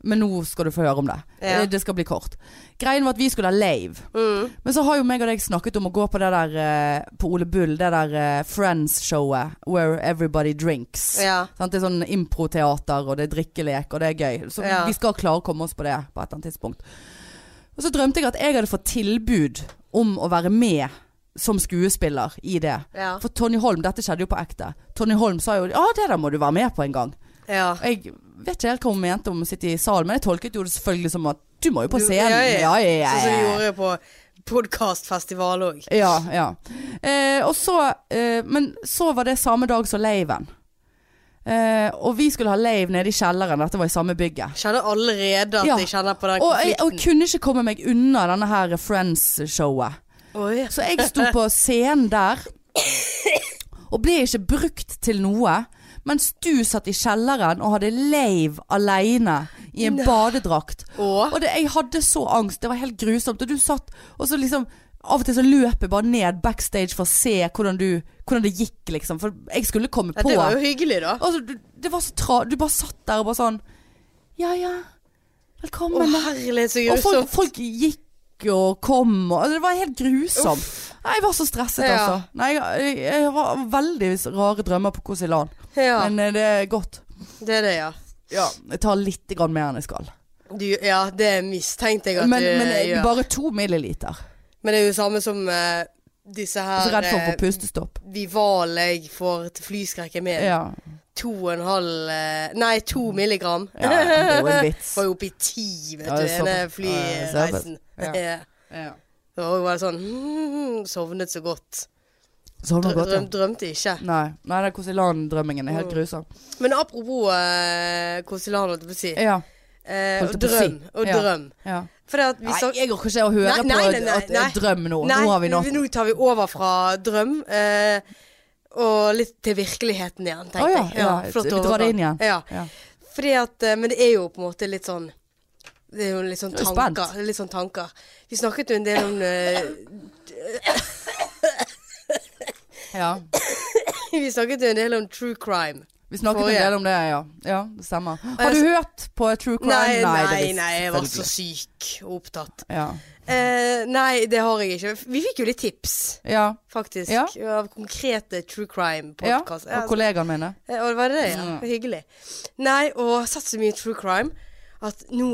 B: Men nå skal du få høre om det.
A: Ja.
B: Eh, Det skal bli kort. Greien var at vi skulle ha lave.
A: Mm.
B: Men så har jo meg og deg snakket om å gå på det der eh, På Ole Bull, det der eh, Friends-showet Where Everybody Drinks.
A: Ja.
B: Sant? Det er sånn improteater, og det er drikkelek, og det er gøy. Så
A: Ja.
B: vi skal klare å komme oss på det på et eller annet tidspunkt. Og så drømte jeg at jeg hadde fått tilbud om å være med som skuespiller i det.
A: Ja.
B: For Tony Holm, dette skjedde jo på ekte. Tony Holm sa jo ja, det der må du være med på en gang.
A: ja.
B: Og jeg vet ikke helt hva hun mente om å sitte i salen, men jeg tolket jo det selvfølgelig som at du må jo på
A: Du-
B: scenen.
A: ja, ja.
B: Ja, ja, ja.
A: Sånn som vi gjorde på podkastfestival òg.
B: Ja, ja. Eh, og så, eh, men så var det samme dag som laven. Eh, og vi skulle ha lave nede i kjelleren, dette var i samme bygget.
A: Kjenner allerede at
B: Ja.
A: jeg kjenner på den
B: Og jeg, og
A: konflikten.
B: kunne ikke komme meg unna denne her Friends-showet.
A: Oi, ja.
B: Så jeg sto på scenen der, og ble ikke brukt til noe. Mens du satt i kjelleren og hadde lave aleine i en
A: Nei.
B: badedrakt.
A: Og
B: Og det, jeg hadde så angst, det var helt grusomt. Og du satt, og så liksom Av og til så løp jeg bare ned backstage for å se hvordan, du, hvordan det gikk, liksom. For jeg skulle komme på.
A: Dette var jo hyggelig, da.
B: Altså, du, det var så tra... Du bare satt der og bare sånn Ja ja,
A: Å
B: velkommen. da."
A: herlighet, så
B: og folk,
A: grusomt.
B: folk gikk og kom og altså, Det var helt grusomt. Nei, jeg var så stresset,
A: Ja.
B: altså. Nei, jeg, jeg, jeg var veldig rare drømmer på Kosilan.
A: Ja,
B: Men eh, det er godt.
A: det er det, ja.
B: Jeg tar litt grann mer enn jeg skal.
A: Du, ja, det mistenkte jeg at
B: Men,
A: du
B: men
A: eh,
B: eh,
A: gjør.
B: bare to milliliter.
A: Men det er jo samme som eh, disse
B: Jeg er så
A: her
B: redd for å få
A: eh,
B: pustestopp.
A: de val jeg får til flyskrekken min.
B: Ja. Mm.
A: To og en halv eh, Nei, to milligram.
B: ja, det er jo en vits.
A: Var jo oppe i ti, vet
B: Ja,
A: du,
B: det
A: ene
B: er såpass. Ja, det er
A: flyreisen.
B: såpass. Ja.
A: Ja. Da var det sånn mm, Sovnet så godt.
B: Så har du noe godt,
A: Drøm, Mm. drømte ikke.
B: ja. Nei, nei den Kosilan-drømmingen er helt grusom.
A: Men apropos eh, Kosilan, holdt jeg på å si.
B: Ja.
A: Eh,
B: Holdt
A: og
B: jeg på å si.
A: drøm. Og
B: Ja.
A: drøm.
B: ja.
A: For det at vi
B: Nei,
A: så
B: jeg orker ikke å
A: Nei, nei,
B: høre
A: nei, nei,
B: på at
A: nei.
B: eh, drøm nå. nå har vi nok.
A: nå tar vi over fra drøm eh, og litt til virkeligheten igjen, tenkte
B: Å, ja,
A: jeg.
B: ja, vi drar
A: overgang.
B: det inn igjen.
A: Ja.
B: Ja.
A: Fordi at, eh, men det er jo på en måte litt sånn Det er jo litt sånn
B: Jeg er spent.
A: tanker. Litt sånn tanker. Vi snakket jo en del om eh,
B: Ja.
A: Vi snakket jo en del om true crime.
B: Vi snakket
A: Forrige.
B: en del om det, ja. Ja, Det stemmer. Har
A: jeg
B: du hørt på True Crime?
A: Nei,
B: det
A: nei,
B: visste
A: nei, jeg var så
B: selvfølgelig.
A: syk og opptatt.
B: ja.
A: Eh, nei, det har jeg ikke. Vi fikk jo litt tips,
B: Ja,
A: faktisk,
B: Ja.
A: av konkrete true
B: ja.
A: crime-podkast.
B: Og kollegaene mine.
A: Eh, Og det var det, ja.
B: Mm.
A: Det var Hyggelig. Nei, og jeg har sett så mye true crime at nå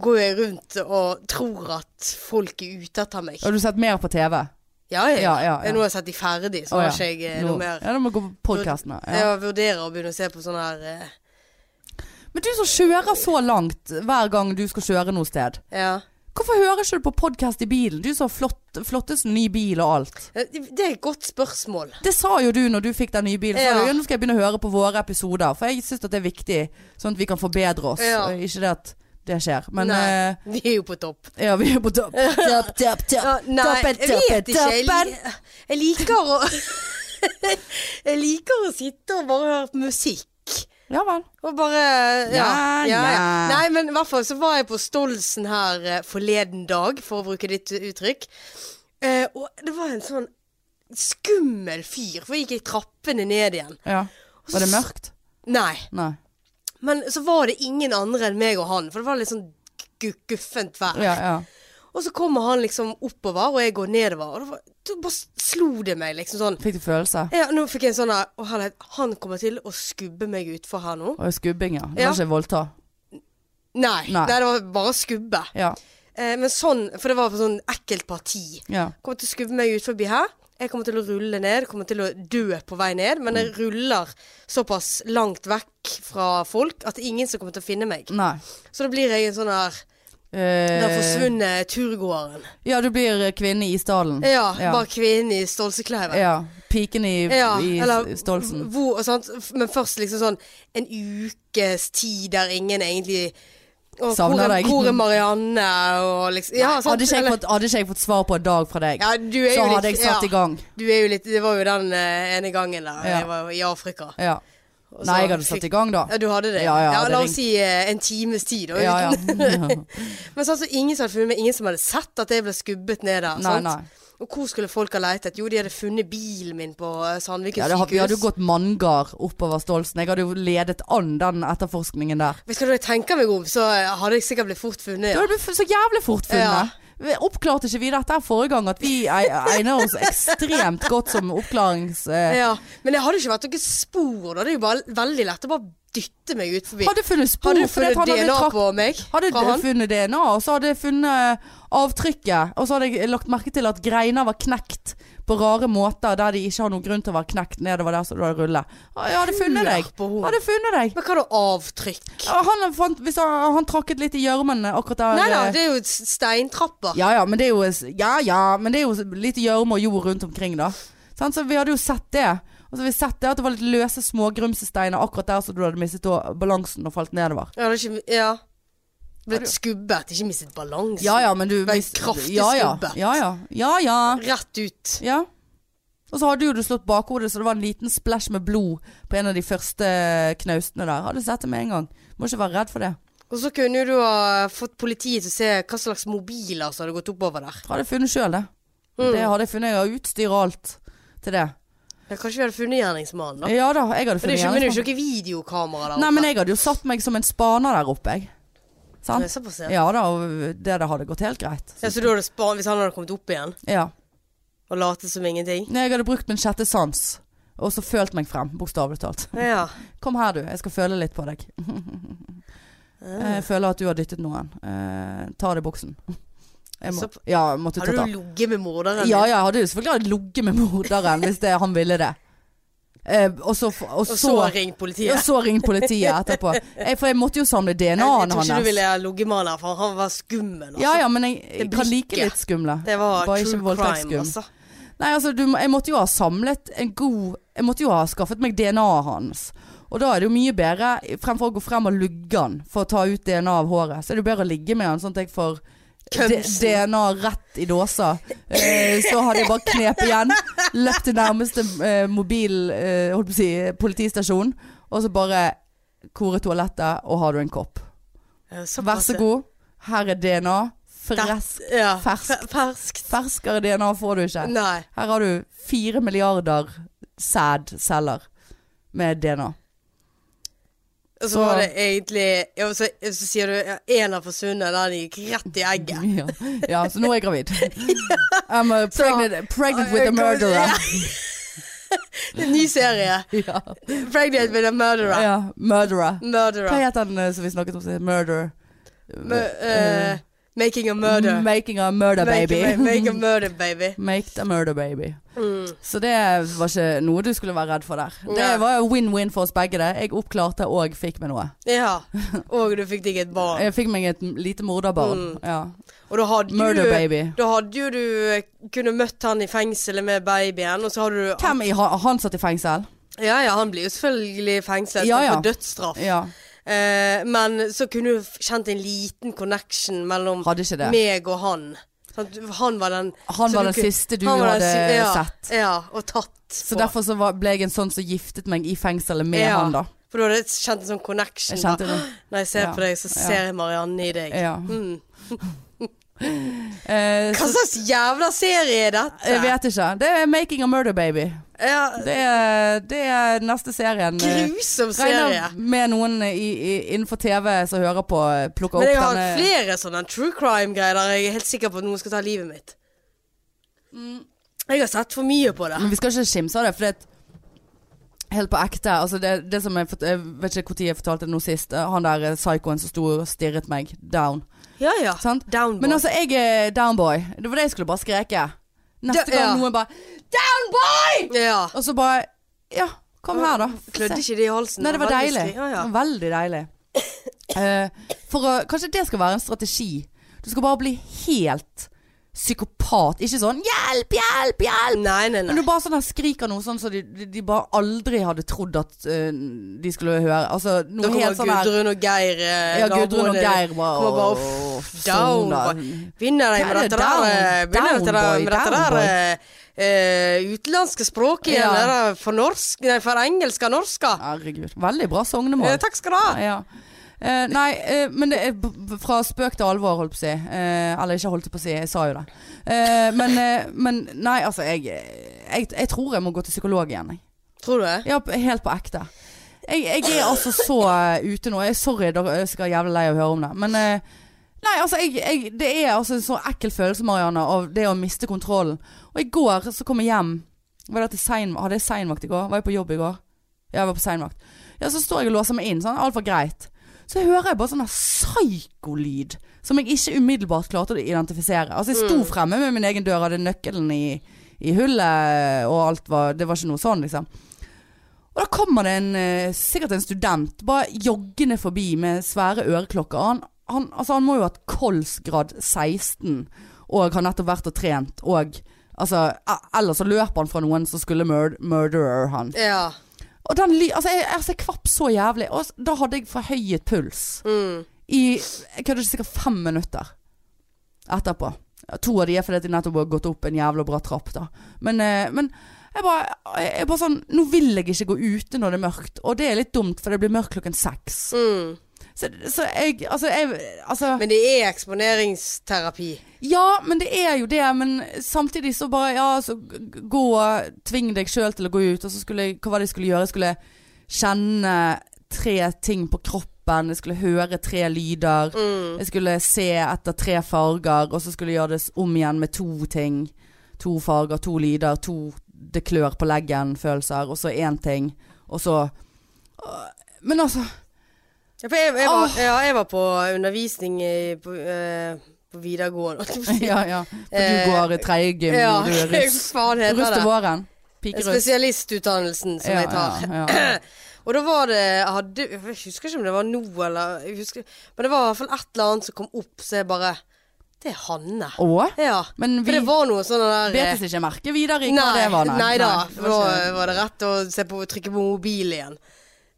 A: går jeg rundt og tror at folk er ute etter meg.
B: Har du sett mer på TV?
A: Ja, ja.
B: Ja,
A: ja,
B: ja, ja.
A: Nå har jeg sett de ferdig, så
B: Å,
A: har
B: ja.
A: ikke jeg eh,
B: Nå-
A: noe mer.
B: Ja, da må vi gå på podkastene. Ja.
A: Jeg vurderer å begynne å se på sånne her eh,
B: Men du som kjører så langt hver gang du skal kjøre noe sted.
A: Ja.
B: Hvorfor hører ikke du på podkast i bilen? Du som har flott, flottest ny bil og alt.
A: Eh, Det er et godt spørsmål.
B: Det sa jo du når du fikk den nye bilen. Så
A: Ja.
B: sa du, ja. Nå skal jeg begynne å høre på våre episoder, for jeg syns det er viktig. Sånn at vi kan forbedre oss.
A: Ja.
B: Eh, Ikke det at det skjer, men
A: nei, vi er jo på topp.
B: eh, ja, vi er på topp. Topp, topp, topp.
A: Ja, nei,
B: toppen,
A: jeg vet
B: toppen,
A: ikke. Jeg,
B: toppen.
A: li- jeg liker å Jeg liker å sitte og bare høre på musikk.
B: Ja vel.
A: Og bare ja,
B: Ja,
A: ja, ja,
B: ja.
A: Nei, men i hvert fall så var jeg på Stolsen her eh, forleden dag, for å bruke ditt uttrykk. Eh, og det var en sånn skummel fyr, for jeg gikk i trappene ned igjen.
B: Ja. Var det mørkt?
A: Nei.
B: Nei.
A: Men så var det ingen andre enn meg og han, for det var litt sånn gu- guffent vær.
B: Ja, ja.
A: Og så kommer han liksom oppover, og jeg går nedover. Og det var, da bare slo det meg liksom sånn.
B: Fikk du følelse?
A: Ja, nå fikk jeg en sånn her Å, herlighet, han kommer til å skubbe meg utfor her nå.
B: Og skubbing, ja. Det
A: Ja.
B: var ikke voldta.
A: Nei,
B: Nei.
A: nei, det var bare skubbe.
B: Ja.
A: Eh, men sånn, for det var på sånn ekkelt parti.
B: ja.
A: Kommer til å skubbe meg ut forbi her. Jeg kommer til å rulle ned, kommer til å dø på vei ned. Men
B: Mm.
A: jeg ruller såpass langt vekk fra folk at det er ingen som kommer til å finne meg.
B: Nei.
A: Så da blir jeg en sånn her den
B: Eh,
A: forsvunne turgåeren.
B: ja, du blir kvinne i Isdalen.
A: Ja,
B: ja.
A: bare kvinnen i stolsekleiven.
B: Ja. Piken i,
A: Ja,
B: i
A: eller
B: Stolsen.
A: Hvor, og sant? F- Men først liksom sånn en ukes tid der ingen egentlig og
B: Savner
A: hvor, er-
B: deg.
A: Hvor er Marianne? Og liksom, ja, sant?
B: Hadde ikke, jeg
A: Eller-
B: fått, hadde ikke jeg fått svar på en dag fra deg,
A: ja, du er
B: så
A: jo litt-
B: hadde jeg
A: ja.
B: satt i gang.
A: Du er jo litt Det var jo den eh, ene gangen der.
B: Ja.
A: Jeg var jo i Afrika.
B: Ja. Nei, jeg hadde satt i gang da.
A: Ja, du hadde det?
B: Ja, ja, det
A: la
B: ringte.
A: oss si eh, en times tid. da,
B: Ja,
A: uten-
B: ja.
A: Men sånn så ingen som hadde funnet meg, ingen som hadde sett at jeg ble skubbet ned der.
B: Nei,
A: sant?
B: nei.
A: Og hvor skulle folk ha leitet? Jo, de hadde funnet bilen min på eh, Sandviken
B: Ja, det, har- vi hadde jo
A: sykehus.
B: gått manngard oppover Stolsen. Jeg hadde jo ledet an den etterforskningen der.
A: Vet du hva jeg tenker meg om, så eh, hadde jeg sikkert blitt fort funnet.
B: Du hadde blitt f- så jævlig fort
A: Ja.
B: funnet. Vi Oppklarte ikke vi dette her forrige gang, at vi e- egner oss ekstremt godt som oppklarings... Eh,
A: Ja, men det hadde ikke vært noe spor. Da. Det er jo bare veldig lett å bare dytte meg ut forbi.
B: hadde funnet spor.
A: Hadde du
B: fordi at
A: funnet
B: han hadde
A: DNA
B: trakk-
A: på meg?
B: Hadde
A: fra han?
B: funnet DNA, og så hadde jeg funnet avtrykket. Og så hadde jeg lagt merke til at greiner var knekt på rare måter der de ikke har noen grunn til å være knekt nedover der som du hadde rullet. Jeg hadde funnet deg.
A: På hodet.
B: Hadde funnet deg.
A: Men hva da? Avtrykk?
B: Ja, Han, fant, hvis han, han trakket litt i gjørmen akkurat der.
A: Nei da,
B: eh,
A: det er jo s- steintrapper.
B: Ja ja, men det er jo, ja, ja, men det er jo litt gjørme og jord rundt omkring, da. Sant? så vi hadde jo sett det. Og så hadde vi sett det At det var litt løse smågrumsesteiner akkurat der som du hadde mistet da balansen og falt nedover.
A: Jeg hadde ikke Ja.
B: Hadde
A: Blitt
B: jo-
A: skubbet, ikke mistet balansen.
B: Ja ja, men du
A: Ble
B: hvis-
A: kraftig
B: ja, ja,
A: skubbet.
B: ja ja. ja, ja.
A: Rett ut.
B: Ja. Og så hadde jo du slått bakhodet, så det var en liten splæsj med blod på en av de første knaustene der. Hadde sett det med en gang. Må ikke være redd for det.
A: Og så kunne jo du ha fått politiet til å se hva slags mobiler som hadde gått oppover der.
B: Hadde jeg funnet sjøl, det.
A: Mm.
B: Det hadde jeg funnet. Jeg har utstyr og alt til det.
A: Ja, kanskje vi hadde funnet gjerningsmannen, da.
B: Ja da, jeg
A: Men det
B: hadde
A: er
B: funnet
A: ikke, men det er
B: gjerningsmannen.
A: jo ikke noe videokamera der
B: Nei, men jeg hadde jo satt meg som en spaner der oppe, jeg.
A: Det
B: Sant?
A: er såpass, ja.
B: Ja da, og det der hadde gått helt greit.
A: Ja, så du hadde spa- hvis han hadde kommet opp igjen
B: Ja.
A: og latet som ingenting?
B: Nei, jeg hadde brukt min sjette sans, og så følt meg frem, bokstavelig talt.
A: Ja.
B: Kom her, du. Jeg skal føle litt på deg.
A: Ah.
B: Jeg føler at du har dyttet noen. Eh, ta av deg buksen. Jeg må,
A: Så-
B: ja, jeg måtte
A: Har
B: ta
A: du
B: det.
A: ligget med morderen?
B: Ja, ja, jeg hadde jo selvfølgelig ligget med morderen hvis det, han ville det. Eh, og så, og
A: Og
B: så,
A: så
B: og
A: ring politiet.
B: så ringte politiet etterpå. Eh, for jeg måtte jo samle
A: Jeg, jeg
B: DNA-en
A: tror ikke du
B: hans.
A: ville ligget med han der, for han var skummel. Altså.
B: Ja ja, men jeg,
A: Det
B: jeg kan like
A: blikket.
B: litt skumle.
A: Det var
B: Bare ikke
A: true crime,
B: voldtektsskum.
A: altså.
B: Nei, altså, du, må- jeg måtte jo ha samlet en god Jeg måtte jo ha skaffet meg DNA-et hans. Og da er det jo mye bedre, fremfor å gå frem og lugge han for å ta ut DNA av håret, så er det jo bedre å ligge med han sånn at jeg får D-
A: Kømsen.
B: DNA rett i dåsa. Eh, så hadde jeg bare knep igjen, løpt til nærmeste eh, mobil eh, holdt på å si, politistasjon, og så bare kore toalettet, og har du en kopp.
A: Ja, såpass,
B: Vær så
A: ja.
B: god, her er DNA. Fres,
A: Det- ja. fe-
B: ferskt.
A: Ferskt.
B: ferskere DNA får du ikke.
A: Nei.
B: Her har du fire milliarder sædceller med DNA.
A: Og så var det egentlig ja, så, så sier du ja, en har forsvunnet, den gikk rett i egget.
B: ja. ja, så nå er jeg gravid. I'm uh,
A: Så-
B: pregnant, pregnant with a murderer.
A: Ja. Det er en ny serie.
B: Ja.
A: Pregnant with a murderer.
B: ja, murderer. Hva
A: Murderer.
B: heter den eh, som vi snakket om? som heter Murder.
A: Mu- eh, making a murder.
B: Making a murder
A: Make a-
B: baby.
A: ma- make a murder baby.
B: Make the murder baby.
A: Mm.
B: Så det var ikke noe du skulle være redd for der. Det
A: Nei.
B: var jo win-win for oss begge. det Jeg oppklarte og fikk meg noe.
A: Ja. Og du fikk deg et barn.
B: Jeg fikk meg et m- lite morderbarn. Ja.
A: Og da hadde
B: Murder
A: Mm. du
B: baby.
A: Da hadde jo du eh, kunne møtt han i fengselet med babyen, og så hadde du
B: Hvem i han, han satt i fengsel?
A: Ja ja, han blir jo selvfølgelig fengslet
B: Ja, ja.
A: for dødsstraff.
B: Ja.
A: Eh, men så kunne du f- kjent en liten connection mellom
B: Hadde ikke det.
A: meg og han. Sant? Han var den
B: Han
A: så
B: var
A: du
B: den
A: kunne-
B: siste du
A: han var den
B: hadde
A: si- ja,
B: sett.
A: Ja, og tatt.
B: Så
A: på.
B: derfor så var, ble jeg en sånn som giftet meg i fengselet med
A: Ja.
B: han, da.
A: For du hadde kjent en sånn connection.
B: Jeg kjente
A: da.
B: det.
A: Når jeg ser
B: Ja,
A: på deg, så
B: ja.
A: ser jeg Marianne i deg.
B: Ja.
A: Mm.
B: Eh,
A: Hva
B: så,
A: slags jævla serie er dette?
B: jeg vet ikke. Det er 'Making a Murder Baby'.
A: Ja,
B: Det er, det er neste serien. eh,
A: grusom serie.
B: Regner med noen i, i, innenfor TV som hører på, eh, plukker
A: Men jeg
B: opp
A: har
B: denne
A: hatt flere sånne true crime-greier der jeg er helt sikker på at noen skal ta livet mitt.
B: Mm.
A: Jeg har sett for mye på det.
B: Men vi skal ikke skimse av det, for det er et- Helt på ekte. Altså det, det som jeg, fort- jeg vet ikke når jeg fortalte det nå sist. eh, Han der eh, psykoen som sto og stirret meg down.
A: Ja ja.
B: Sant?
A: Downboy.
B: Men altså, jeg er downboy. Det var det jeg skulle bare skreke.
A: Da-
B: Neste
A: ja.
B: gang noen bare Downboy!
A: ja.
B: Og så bare Ja, kom her, da. Få
A: Klødde
B: se.
A: ikke det i halsen?
B: Nei, det var
A: Veldig sli-
B: deilig.
A: Ja, ja.
B: Det var Veldig deilig. Eh, for å, kanskje det skal være en strategi. Du skal bare bli helt psykopat. Ikke sånn 'hjelp, hjelp, hjelp'.
A: Nei, nei,
B: Men
A: nei.
B: du bare sånn her skriker noe sånn som de, de, de bare aldri hadde trodd at eh, de skulle høre.
A: Da
B: Altså noe
A: kommer
B: helt sånn her
A: Gudrun og Geir. eh,
B: Ja, Gudrun og
A: naboene.
B: Geir
A: kommer
B: bare
A: bare,
B: og,
A: down, Vinner de med
B: Hva er
A: dette
B: det?
A: der, eh,
B: Down-
A: vinner dette der, med
B: downboy,
A: dette der eh, eh, utenlandske språket igjen?
B: Ja.
A: det der For norsk, nei, for engelsk og norsk.
B: Herregud. Veldig bra
A: Eh,
B: sognemål.
A: takk skal du ha.
B: Ja. Eh, nei, eh, men det er b b- fra spøk til alvor, holdt på å si. Eh, eller ikke holdt på å si, jeg sa jo det. Eh, men, eh, men nei, altså jeg, jeg, jeg tror jeg må gå til psykolog igjen, jeg.
A: Tror du det?
B: Ja, p- helt på ekte. Jeg, jeg er altså så eh, ute nå. Jeg, sorry, dere er sikkert jævlig lei av å høre om det. Men eh, nei, altså, jeg, jeg, det er altså en så ekkel følelse, Marianne, av det å miste kontrollen. Og i går så kom jeg hjem. Var det til sein, hadde jeg seinvakt i går? Var jeg på jobb i går? Ja, jeg var på seinvakt. Ja, så står jeg og låser meg inn. Sånn, alt var greit. Så hører jeg bare sånn her psykolyd som jeg ikke umiddelbart klarte å identifisere. Altså, jeg sto fremme med min egen dør, hadde nøkkelen i, i hullet, og alt var Det var ikke noe sånn, liksom. Og da kommer det en, eh, sikkert en student bare joggende forbi med svære øreklokker. Han, han, altså, han må jo ha hatt kolsgrad 16 og har nettopp vært og trent. Og altså, e- ellers så løper han fra noen som skulle mur murderer han.
A: Ja.
B: Og den ly... Altså, jeg, altså, jeg kvapp så jævlig. Og s- da hadde jeg forhøyet puls
A: Mm.
B: i jeg kødder ikke sikkert fem minutter etterpå. To av de er fordi at de nettopp har gått opp en jævla bra trapp, da. Men, eh, men jeg bare, jeg er bare sånn Nå vil jeg ikke gå ute når det er mørkt, og det er litt dumt, for det blir mørkt klokken seks.
A: Mm.
B: Så, så jeg Altså, jeg altså,
A: Men det er eksponeringsterapi.
B: Ja, men det er jo det, men samtidig så bare Ja, så g- gå Tving deg sjøl til å gå ut, og så skulle jeg Hva var det jeg skulle gjøre? Jeg skulle kjenne tre ting på kroppen, jeg skulle høre tre lyder.
A: Mm.
B: Jeg skulle se etter tre farger, og så skulle jeg gjøre det s- om igjen med to ting. To farger, to lyder, to det klør på leggen, følelser, og så én ting. Og så Åh, Men altså
A: Ja, for jeg, jeg, var,
B: Åh.
A: ja, jeg var på undervisning i, på, eh, på videregående.
B: Ja, ja. For
A: Eh,
B: du går i tredje gym,
A: Ja,
B: og du er
A: hva
B: russ.
A: faen
B: Russ
A: heter
B: til
A: det?
B: våren. Pikerus.
A: Spesialistutdannelsen som jeg tar.
B: Ja, ja, ja.
A: Og da var det hadde, Jeg husker ikke om det var nå eller jeg husker, Men det var i hvert fall et eller annet som kom opp, så jeg bare Det er Hanne.
B: Og?
A: Ja.
B: Men vi
A: For det var noe sånn der eh,
B: betes ikke merke videre i hva
A: Nei,
B: det var.
A: nei da.
B: det
A: For
B: var
A: da
B: ikke-
A: var eh, det rett å se på, trykke på mobilen igjen.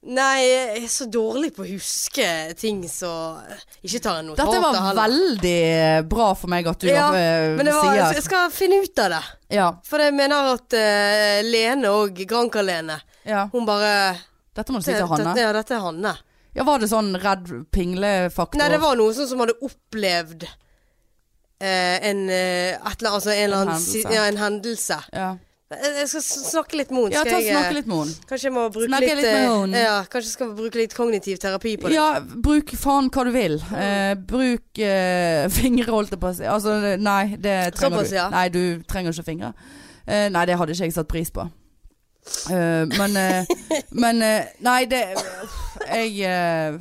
A: Nei, jeg er så dårlig på å huske ting så Ikke tar jeg notater
B: Dette var veldig bra for meg at du
A: Ja,
B: eh,
A: Men det var,
B: sier
A: jeg skal finne ut av det.
B: ja,
A: For jeg mener at eh, Lene og Granka-Lene
B: ja.
A: Hun bare
B: Dette må du si til Hanne.
A: Ja, dette er Hanne.
B: Ja, var det sånn redd pinglefaktor?
A: Nei, det var noen sånn som hadde opplevd eh, en, eh, et eller, annet- altså en, eller annen,
B: hendelse.
A: si- Ja, en hendelse.
B: ja.
A: Jeg skal s- snakke litt med henne.
B: Ja,
A: skal
B: ta og
A: jeg, eh,
B: snakke litt med henne.
A: Kanskje jeg må bruke
B: Snakke
A: litt,
B: litt med
A: eh,
B: henne.
A: Ja, kanskje jeg skal bruke litt kognitiv terapi på det.
B: Ja, bruk faen hva du vil. Eh, bruk eh, fingre, holdt jeg på å si. Altså, nei, det trenger
A: Såpass,
B: du.
A: ja.
B: Nei, du trenger ikke fingre. Eh, nei, det hadde ikke jeg satt pris på. Eh, men eh, men eh, Nei, det Jeg eh,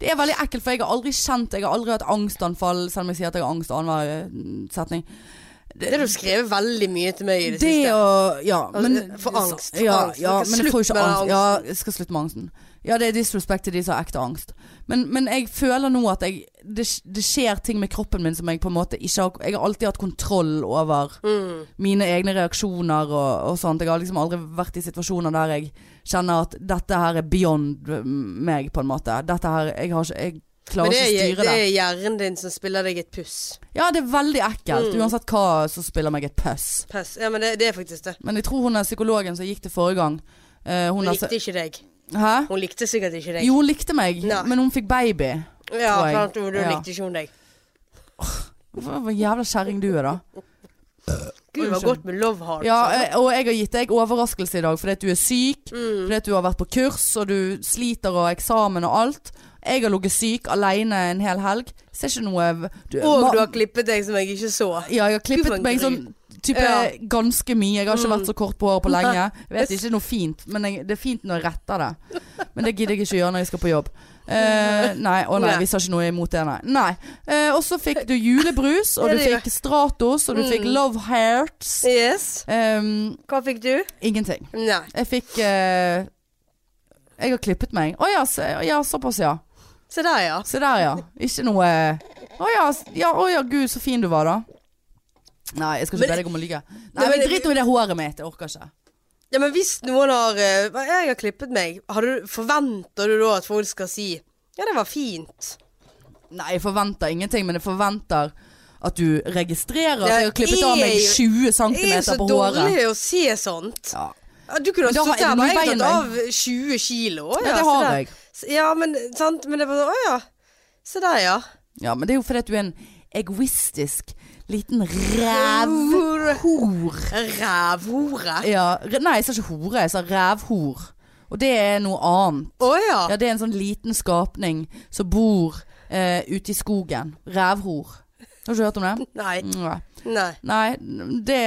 B: Det er veldig ekkelt, for jeg har aldri kjent Jeg har aldri hatt angstanfall, selv om jeg sier at jeg har angst annenhver eh, setning.
A: Det har du skrevet veldig mye til meg i det,
B: Det
A: siste.
B: og Ja,
A: Altså,
B: men
A: for angst, for
B: Ja,
A: angst.
B: ja
A: Dere
B: men jeg
A: slutt
B: får ikke
A: med den
B: angst. Ja, jeg skal slutte med angsten. Ja, det er disrespect til de som har ekte angst. Men, men jeg føler nå at jeg det, det skjer ting med kroppen min som jeg på en måte ikke har Jeg har alltid hatt kontroll over
A: Mm.
B: mine egne reaksjoner og, og sånt. Jeg har liksom aldri vært i situasjoner der jeg kjenner at dette her er beyond meg, på en måte. Dette her Jeg har ikke Jeg
A: Men
B: klarer
A: det
B: ikke å
A: er,
B: styre
A: det
B: det.
A: er hjernen din som spiller deg et puss.
B: Ja, det er veldig ekkelt.
A: Mm.
B: Uansett hva, så spiller meg et puss.
A: Pess. Ja, men det, det er faktisk det.
B: Men jeg tror hun er psykologen som gikk til forrige gang. eh, hun
A: Hun
B: er,
A: likte ikke deg.
B: hæ?
A: Hun likte sikkert ikke deg.
B: Jo, hun likte meg,
A: Nei.
B: men hun fikk baby.
A: ja,
B: tror jeg.
A: sant, hun- hun
B: Ja.
A: likte ikke hun deg.
B: Hva hva jævla kjerring du er, da.
A: Gud, det var
B: Unnskyld.
A: godt med love heart. altså.
B: Ja,
A: sant?
B: eh, og jeg har gitt deg overraskelse i dag fordi at du er syk.
A: Mm.
B: Fordi at du har vært på kurs, og du sliter og har eksamen og alt. Jeg har ligget syk aleine en hel helg. Ser ikke noe du,
A: Og
B: ma-
A: du har klippet deg som jeg ikke så.
B: Ja, jeg har
A: Gud, for
B: klippet
A: en
B: meg sånn
A: grin.
B: type
A: Ja.
B: ganske mye. Jeg har ikke
A: Mm.
B: vært så kort på håret på lenge. Jeg vet ikke noe fint, men jeg, det er fint når jeg retter det. Men det gidder jeg ikke gjøre når jeg skal på jobb. Eh, nei, å nei,
A: Nei.
B: vi sa ikke noe imot det, nei. nei. Eh, og så fikk du julebrus, og
A: Ja,
B: du
A: det gjør
B: fikk Stratos, og du fikk
A: Mm.
B: Love Hearts.
A: Yes.
B: Ehm,
A: Hva fikk du?
B: ingenting.
A: Nei.
B: Jeg fikk eh, Jeg har klippet meg. Å ja, så, ja, såpass, ja.
A: Se der, ja.
B: Se der, ja. Ikke noe Å ja, s- ja, å ja, gud, så fin du var, da. Nei, jeg skal
A: Men-
B: ikke be deg om å
A: Nei,
B: lyve. Nei,
A: men-
B: men drit nå i det håret mitt. Jeg orker ikke.
A: Ja, men hvis noen har eh, hva- Jeg har klippet meg. Har du, forventer du da at folk skal si Ja, det var fint.
B: Nei, jeg forventer ingenting, men jeg forventer at du registrerer
A: Ja,
B: at jeg har klippet av meg
A: jeg-
B: 20
A: Jeg er så
B: cm på håret.
A: dårlig å se sånt.
B: Ja.
A: Ja, Du kunne ha
B: Men da har-
A: stått der
B: er
A: bare
B: det noe
A: jeg
B: i
A: har tatt av 20 kilo. Å,
B: ja, det
A: se
B: har
A: der.
B: jeg.
A: S- Ja, men sant. Men det var sånn Å ja. Se der, ja.
B: Ja, men det er jo fordi at du er en egoistisk liten rævhor.
A: Rævhore.
B: Ja, re- nei, jeg sa ikke hore, jeg sa rævhor. Og det er noe annet.
A: Å ja.
B: Ja, det er en sånn liten skapning som bor eh, ute i skogen. Rævhor. Har du ikke hørt om det?
A: Nei.
B: Nei.
A: Nei.
B: Nei, det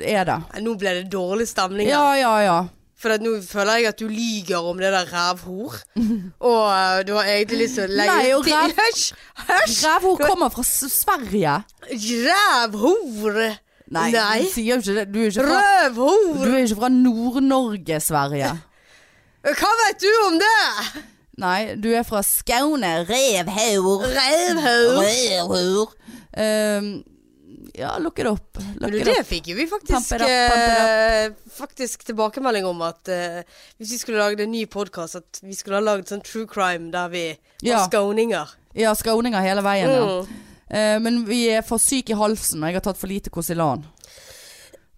B: er det.
A: Nei, Nå ble det dårlig stemning. her.
B: Ja, ja, ja.
A: For at nå føler jeg at du lyger om det der rævhor. Og eh, du har egentlig lyst til å legge
B: Nei, og
A: til-
B: ræv-
A: Hysj! Hysj!
B: Rævhor kommer fra S- Sverige.
A: Rævhor!
B: Nei,
A: Nei.
B: du sier jo ikke det. Du er jo ikke fra, du
A: Røvhor!
B: er jo ikke fra Nord-Norge, Sverige.
A: Hva vet du om det?
B: Nei, du er fra Skåne. Revhor.
A: Rævhor!
B: Revhor. Ehm, ja, look it up.
A: Men
B: Look
A: du,
B: it
A: det
B: up.
A: fikk jo vi
B: Pump
A: faktisk,
B: it up, pump it
A: eh, faktisk tilbakemelding om at eh, hvis vi skulle lagd en ny podkast, at vi skulle ha lagd sånn true crime der vi var
B: Ja.
A: skåninger.
B: Ja, skåninger hele veien, ja.
A: Mm.
B: Eh, men vi er for syke i halsen, og jeg har tatt for lite Kosilan.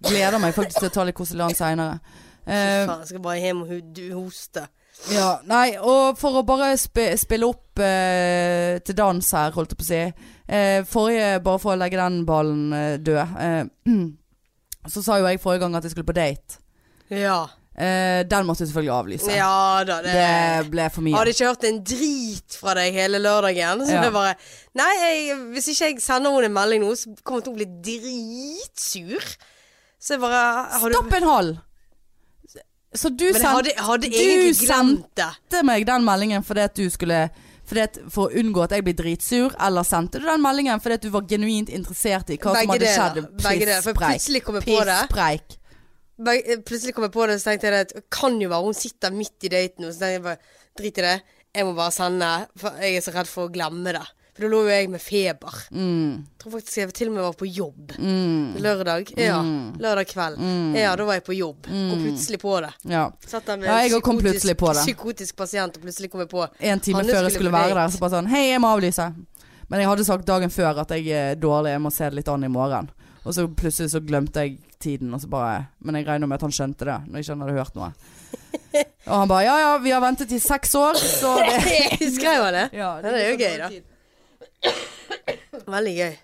B: Gleder meg faktisk til å ta litt Kosilan seinere. Eh,
A: Fy faen, jeg skal bare hjem og hu- hoste.
B: ja, nei, og for å bare spe, spille opp eh, til dans her, holdt jeg på å si. Eh, forrige, bare for å legge den ballen eh, død. Eh, så sa jo jeg forrige gang at jeg skulle på date.
A: Ja.
B: Eh, den måtte jeg selvfølgelig avlyse.
A: Ja da, det,
B: Det ble for mye.
A: Hadde ikke hørt en drit fra deg hele lørdagen. Så
B: Ja.
A: det bare Nei, jeg, hvis ikke jeg sender henne en melding nå, så kommer hun til å bli dritsur. Så jeg bare har du,
B: Stopp en hal! Så du
A: Men jeg
B: sendte
A: hadde, jeg hadde
B: du
A: egentlig
B: sendte-
A: glemt det.
B: sendte meg den meldingen fordi at du skulle fordi at For å unngå at jeg blir dritsur, eller sendte du den meldingen fordi at du var genuint interessert i hva som
A: Begge
B: hadde
A: deler.
B: skjedd?
A: Begge deler. For
B: Pisspreik.
A: plutselig kom jeg på det.
B: Pisspreik.
A: Beg- eh, Plutselig kom jeg på det, så tenkte jeg at det kan jo være hun sitter midt i daten. Og så tenkte jeg bare drit i det. Jeg må bare sende. For jeg er så redd for å glemme det. For da lå jo jeg med feber.
B: Mm,
A: Jeg tror faktisk jeg til og med var på jobb.
B: mm,
A: Lørdag. Ja.
B: Mm.
A: Lørdag kveld.
B: mm.
A: Ja, da var jeg på jobb. Kom
B: Mm.
A: plutselig på det.
B: Ja.
A: Satt der med
B: Ja, jeg
A: en
B: òg kom
A: psykotisk-
B: plutselig på det.
A: Psykotisk pasient, og plutselig kom jeg på.
B: En time
A: Hanne
B: før jeg
A: skulle
B: skulle
A: på
B: være
A: date.
B: der, så bare sånn Hei, jeg må avlyse. Men jeg hadde sagt dagen før at jeg er dårlig, jeg må se det litt an i morgen. Og så plutselig så glemte jeg tiden, og så bare Men jeg regner med at han skjønte det, når ikke han hadde hørt noe. Og han bare Ja ja, vi har ventet i seks år, så det
A: Skrev han det?
B: ja,
A: det er jo gøy, da. Veldig gøy.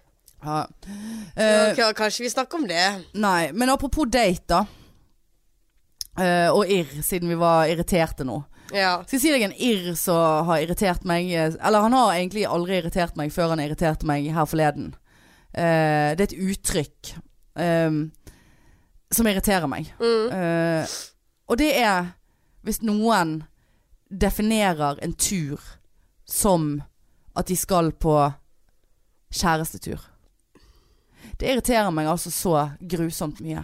B: Ja.
A: Så
B: Eh,
A: k- kanskje vi snakker om det.
B: nei, men apropos date, da. Eh, og irr, siden vi var irriterte nå.
A: Ja.
B: Skal jeg si deg en irr som har irritert meg eh, Eller han har egentlig aldri irritert meg før han irriterte meg her forleden. Eh, det er et uttrykk ehm, som irriterer meg. Eh, og det er hvis noen definerer en tur som at de skal på kjærestetur. Det irriterer meg altså så grusomt mye.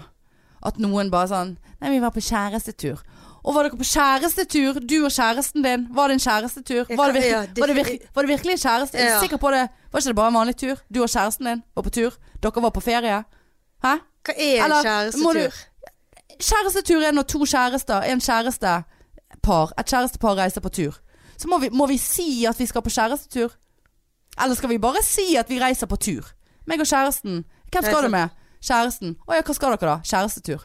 B: At noen bare sånn Nei, vi var på kjærestetur. Og var dere på kjærestetur? Du og kjæresten din. Var det en kjærestetur?
A: Jeg
B: Var
A: kan-
B: det virkelig,
A: ja, det-
B: var det virkelig, var det virkelig en kjæreste? Jeg
A: Ja.
B: er sikker på det. Var ikke det bare en vanlig tur? Du og kjæresten din var på tur. Dere var på ferie. Hæ?
A: Hva er en
B: Eller, må du-
A: kjærestetur?
B: Kjærestetur er når to kjærester, en kjærestepar, et kjærestepar reiser på tur. Så må vi, må vi si at vi skal på kjærestetur? Eller skal vi bare si at vi reiser på tur? Meg og kjæresten. Hvem skal
A: Reiser-
B: du med? Kjæresten. Å ja, hva skal dere da? Kjærestetur.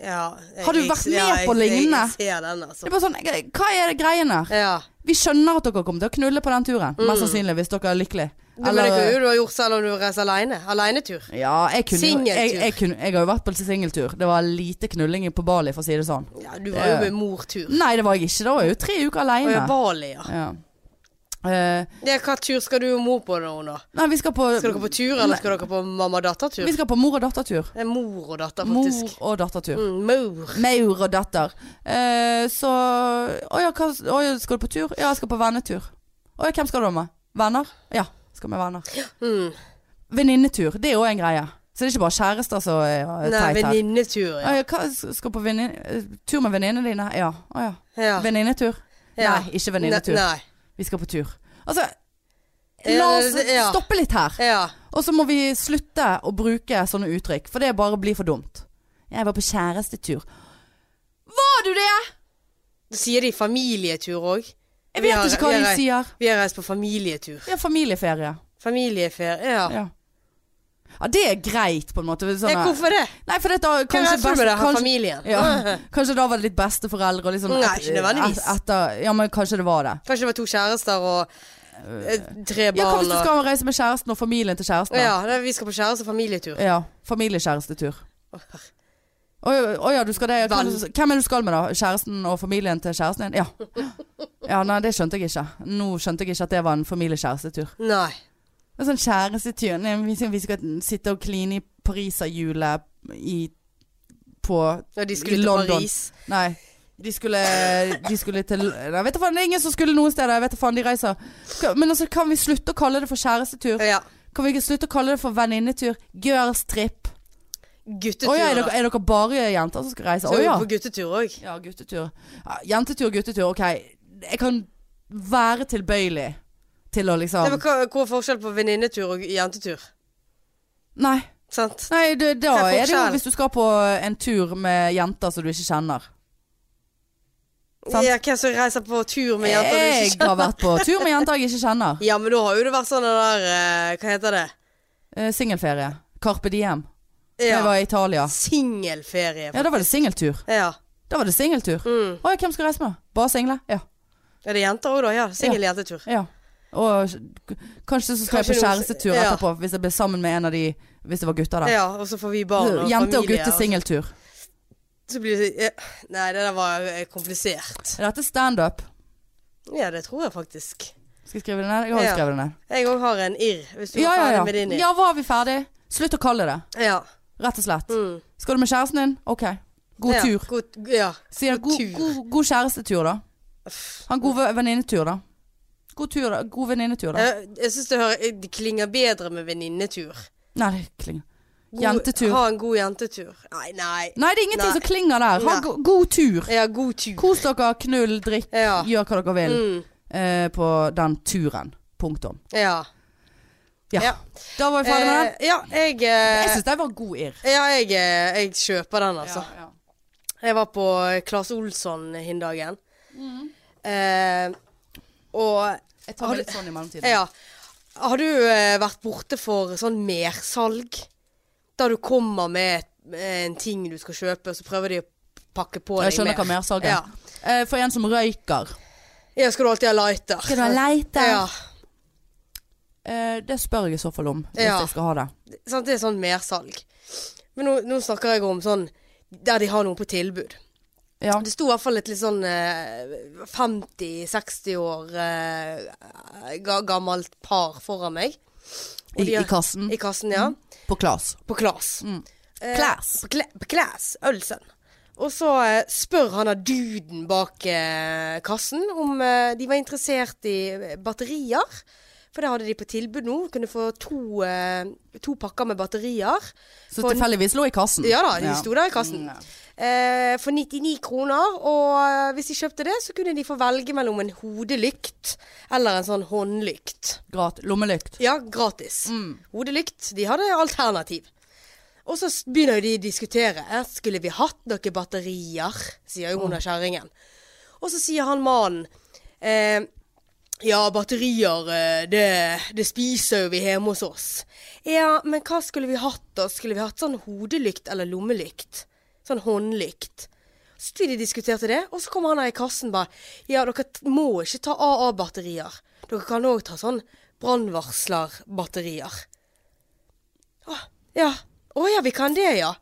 A: Ja, jeg-
B: Har du
A: jeg-
B: vært med
A: ja, jeg-
B: på lignende?
A: Jeg ser den,
B: Det
A: altså.
B: er bare sånn, eh, hva er det greien her?
A: Ja.
B: Vi skjønner at dere kommer til å knulle på den turen. Mest sannsynlig, hvis dere er lykkelige.
A: Mm. Det mener jeg jo du har gjort selv om du reiser alene. Alenetur.
B: Ja, jeg kunne jo jeg,
A: Singeltur.
B: jeg, kunne, jeg har jo vært på singeltur. Det var lite knulling på Bali, for å si det sånn.
A: Ja, du var jo
B: Ja.
A: med mortur.
B: Nei, det var jeg ikke. Da var jeg jo tre
A: Og
B: uker
A: i
B: aleine.
A: Bali, ja.
B: Ja. Eh,
A: Det, hva tur skal du og mor på nå, da?
B: nei, vi skal på
A: Skal dere på tur, eller skal dere på mamma-datter-tur?
B: Vi skal på mor og dattertur.
A: Det er mor og datter,
B: Mor
A: faktisk.
B: og dattertur.
A: Mm, mor.
B: Maur og datter. Eh, så Å ja, hva å, ja, skal du på tur? Ja, jeg skal på vennetur. Å ja, hvem skal du med? Venner? Ja, skal med venner.
A: Mm.
B: Venninnetur, det er òg en greie. Så det er ikke bare kjærester som er eh,
A: Nei,
B: teit her.
A: venninnetur,
B: Å
A: ja.
B: ja, hva, skal du på venninne, eh, tur med venninnene dine? Ja. Å ja.
A: ja.
B: Venninnetur?
A: Ja.
B: Nei, ikke venninnetur.
A: Nei.
B: Vi skal på tur. Altså,
A: Ja,
B: la
A: det-
B: oss
A: det- ja.
B: stoppe litt her.
A: nei. Ja.
B: Og så må vi slutte å bruke sånne uttrykk, for det bare blir for dumt. Jeg var på kjærestetur. Var du det?!
A: Da sier de familietur òg.
B: Jeg vet ikke hva de sier.
A: Vi har reist på familietur.
B: Ja, familieferie.
A: Familieferie, ja.
B: Ja. ja, det er greit, på en måte. Sånn,
A: ja hvorfor det?
B: Nei, for dette har
A: Hva
B: kanskje
A: reiser du med det? Har
B: kanskje,
A: familien?
B: ja, kanskje da var det litt besteforeldre og litt sånn
A: Nei, ikke nødvendigvis.
B: et- Etter, ja, men kanskje det var det.
A: Kanskje det var to kjærester og eh, tre
B: Ja, hva
A: barn
B: hvis du
A: og
B: skal reise med kjæresten og familien til kjæresten? da?
A: Ja, det, vi skal på kjæreste- og familietur.
B: Ja, familiekjærestetur. Å å ja, du skal det. Hvem,
A: Vel.
B: hvem er det du skal med, da? Kjæresten og familien til kjæresten din? Ja. ja. Nei, det skjønte jeg ikke. Nå skjønte jeg ikke at det var en familiekjærestetur.
A: Nei.
B: Det er Sånn kjærestetur Nei, vi skal, vi skal sitte og kline i pariserhjulet i På
A: Når de
B: I
A: skulle til
B: London.
A: Paris.
B: Nei. De skulle, de skulle til Nei, vet du faen, det er ingen som skulle noen steder. Jeg vet du faen, de reiser. Skal- Men altså, kan vi slutte å kalle det for kjærestetur?
A: Ja.
B: Kan vi ikke slutte å kalle det for venninnetur? Girls trip? Å
A: Guttetur.
B: ja, er
A: da.
B: dere, er dere bare jenter som skal reise?
A: Så
B: Å
A: er vi
B: ja.
A: på guttetur òg.
B: ja. Guttetur. Ja, Jentetur, guttetur. Ok. Jeg kan være tilbøyelig til å
A: Nei,
B: liksom
A: men hva, hva er forskjellen på venninnetur og jentetur?
B: Nei.
A: Sant?
B: Nei det,
A: Hva
B: da
A: er
B: er det jo
A: forskjellen?
B: hvis du skal på en tur med jenter som du ikke kjenner. Sant.
A: Ja, hvem som reiser på tur med jenter du
B: Jeg
A: ikke kjenner?
B: har vært på tur med jenter jeg ikke kjenner.
A: Ja, men da har jo det vært sånn den der eh, Hva heter det?
B: Eh, Singelferie. Carpe Diem.
A: Ja.
B: Jeg var i Italia.
A: Singelferie.
B: Ja, da var det singeltur.
A: Ja.
B: Da var det singeltur.
A: Mm.
B: Å ja, hvem skal reise med? Bare single? Ja.
A: Er det jenter òg, da? Ja. Singel-jentetur.
B: Ja. Og k- kanskje så
A: Kanskje
B: skal jeg på
A: noen-
B: kjærestetur
A: ja.
B: etterpå, hvis jeg ble sammen med en av de Hvis det var gutter der.
A: Ja, og så får vi barn og
B: Jente- og
A: familie, altså.
B: guttesingeltur.
A: Så blir det ja. Nei, det der var eh, komplisert.
B: Er dette standup?
A: Ja, det tror jeg faktisk.
B: Skal jeg skrive det ned? Jeg har jo
A: Ja.
B: skrevet det ned.
A: Jeg òg har en irr, hvis du
B: Ja,
A: var
B: ja,
A: ferdig med din
B: ja.
A: irr.
B: ja, var vi ferdig? Slutt å kalle det
A: Ja.
B: rett og slett.
A: Mm.
B: Skal du med kjæresten din? OK. God
A: ja.
B: tur.
A: God, ja.
B: Sier
A: god
B: god,
A: tur.
B: god, god kjærestetur, da. Han god ve- venninnetur, da. God tur, da. God venninnetur, da.
A: Jeg, jeg syns det, hører- det klinger bedre med venninnetur.
B: Nei, det klinger.
A: God-
B: Jentetur.
A: Ha en god jentetur. Nei, nei.
B: Nei, det er ingenting
A: Nei.
B: som klinger der. Ha
A: Nei.
B: go god tur.
A: Ja, god tur.
B: Kos dere, knull, drikk,
A: Ja.
B: gjør hva dere vil
A: Mm,
B: eh, på den turen. Punktum.
A: ja.
B: Da var vi ferdig med den.
A: Eh, ja, jeg
B: Jeg
A: eh,
B: syns den var god irr.
A: Ja, jeg, eh, jeg kjøper den, altså. Jeg var på Claes Olsson hin dagen.
B: Mm.
A: Eh, og
B: Jeg tar meg litt sånn i mellomtiden.
A: ja. Har du eh, vært borte for sånn mersalg? Der du kommer med et- en ting du skal kjøpe, og så prøver de å pakke på
B: Jeg
A: deg
B: skjønner hva mersalget
A: Ja.
B: er. Eh, For en som røyker.
A: Ja, skal du alltid ha lighter?
B: leite?
A: Ja.
B: eh, det spør jeg i så fall om, hvis
A: Ja.
B: jeg skal ha det.
A: Sant, det er sånn mersalg. Men nå, nå snakker jeg om sånn der de har noe på tilbud.
B: Ja.
A: Det sto i hvert fall et litt sånn eh, 50-60 år eh, ga, gammelt par foran meg. Og
B: I,
A: de har-
B: I kassen.
A: I kassen, ja.
B: På Klas.
A: På Klas.
B: Mm.
A: Eh,
B: Klas.
A: På, Kla- på Klas Ølsen. Og så eh, spør han av duden bak eh, kassen om eh, de var interessert i eh, batterier. For det hadde de på tilbud nå. Kunne få to, eh, to pakker med batterier.
B: Så
A: For-
B: tilfeldigvis lå i kassen.
A: Ja da, de sto der i kassen.
B: Mm, ja.
A: Eh, for 99 kroner. Og eh, hvis de kjøpte det, så kunne de få velge mellom en hodelykt eller en sånn håndlykt.
B: Grat. Lommelykt.
A: Ja, gratis.
B: Mm.
A: Hodelykt. De hadde alternativ. Og så s- begynner jo de å diskutere. «Eh, Skulle vi hatt noen batterier? sier jo hun av kjerringen. Og så sier han mannen eh, Ja, batterier, eh, det, det spiser jo vi hjemme hos oss. Ja, men hva skulle vi hatt da? Skulle vi hatt sånn hodelykt eller lommelykt? Sånn håndlykt. Så sto de og diskuterte det, og så kommer han her i kassen bare Ja, dere t- må ikke ta AA-batterier. Dere kan òg ta sånn brannvarslerbatterier. Å, ja. Å ja, vi kan det, ja.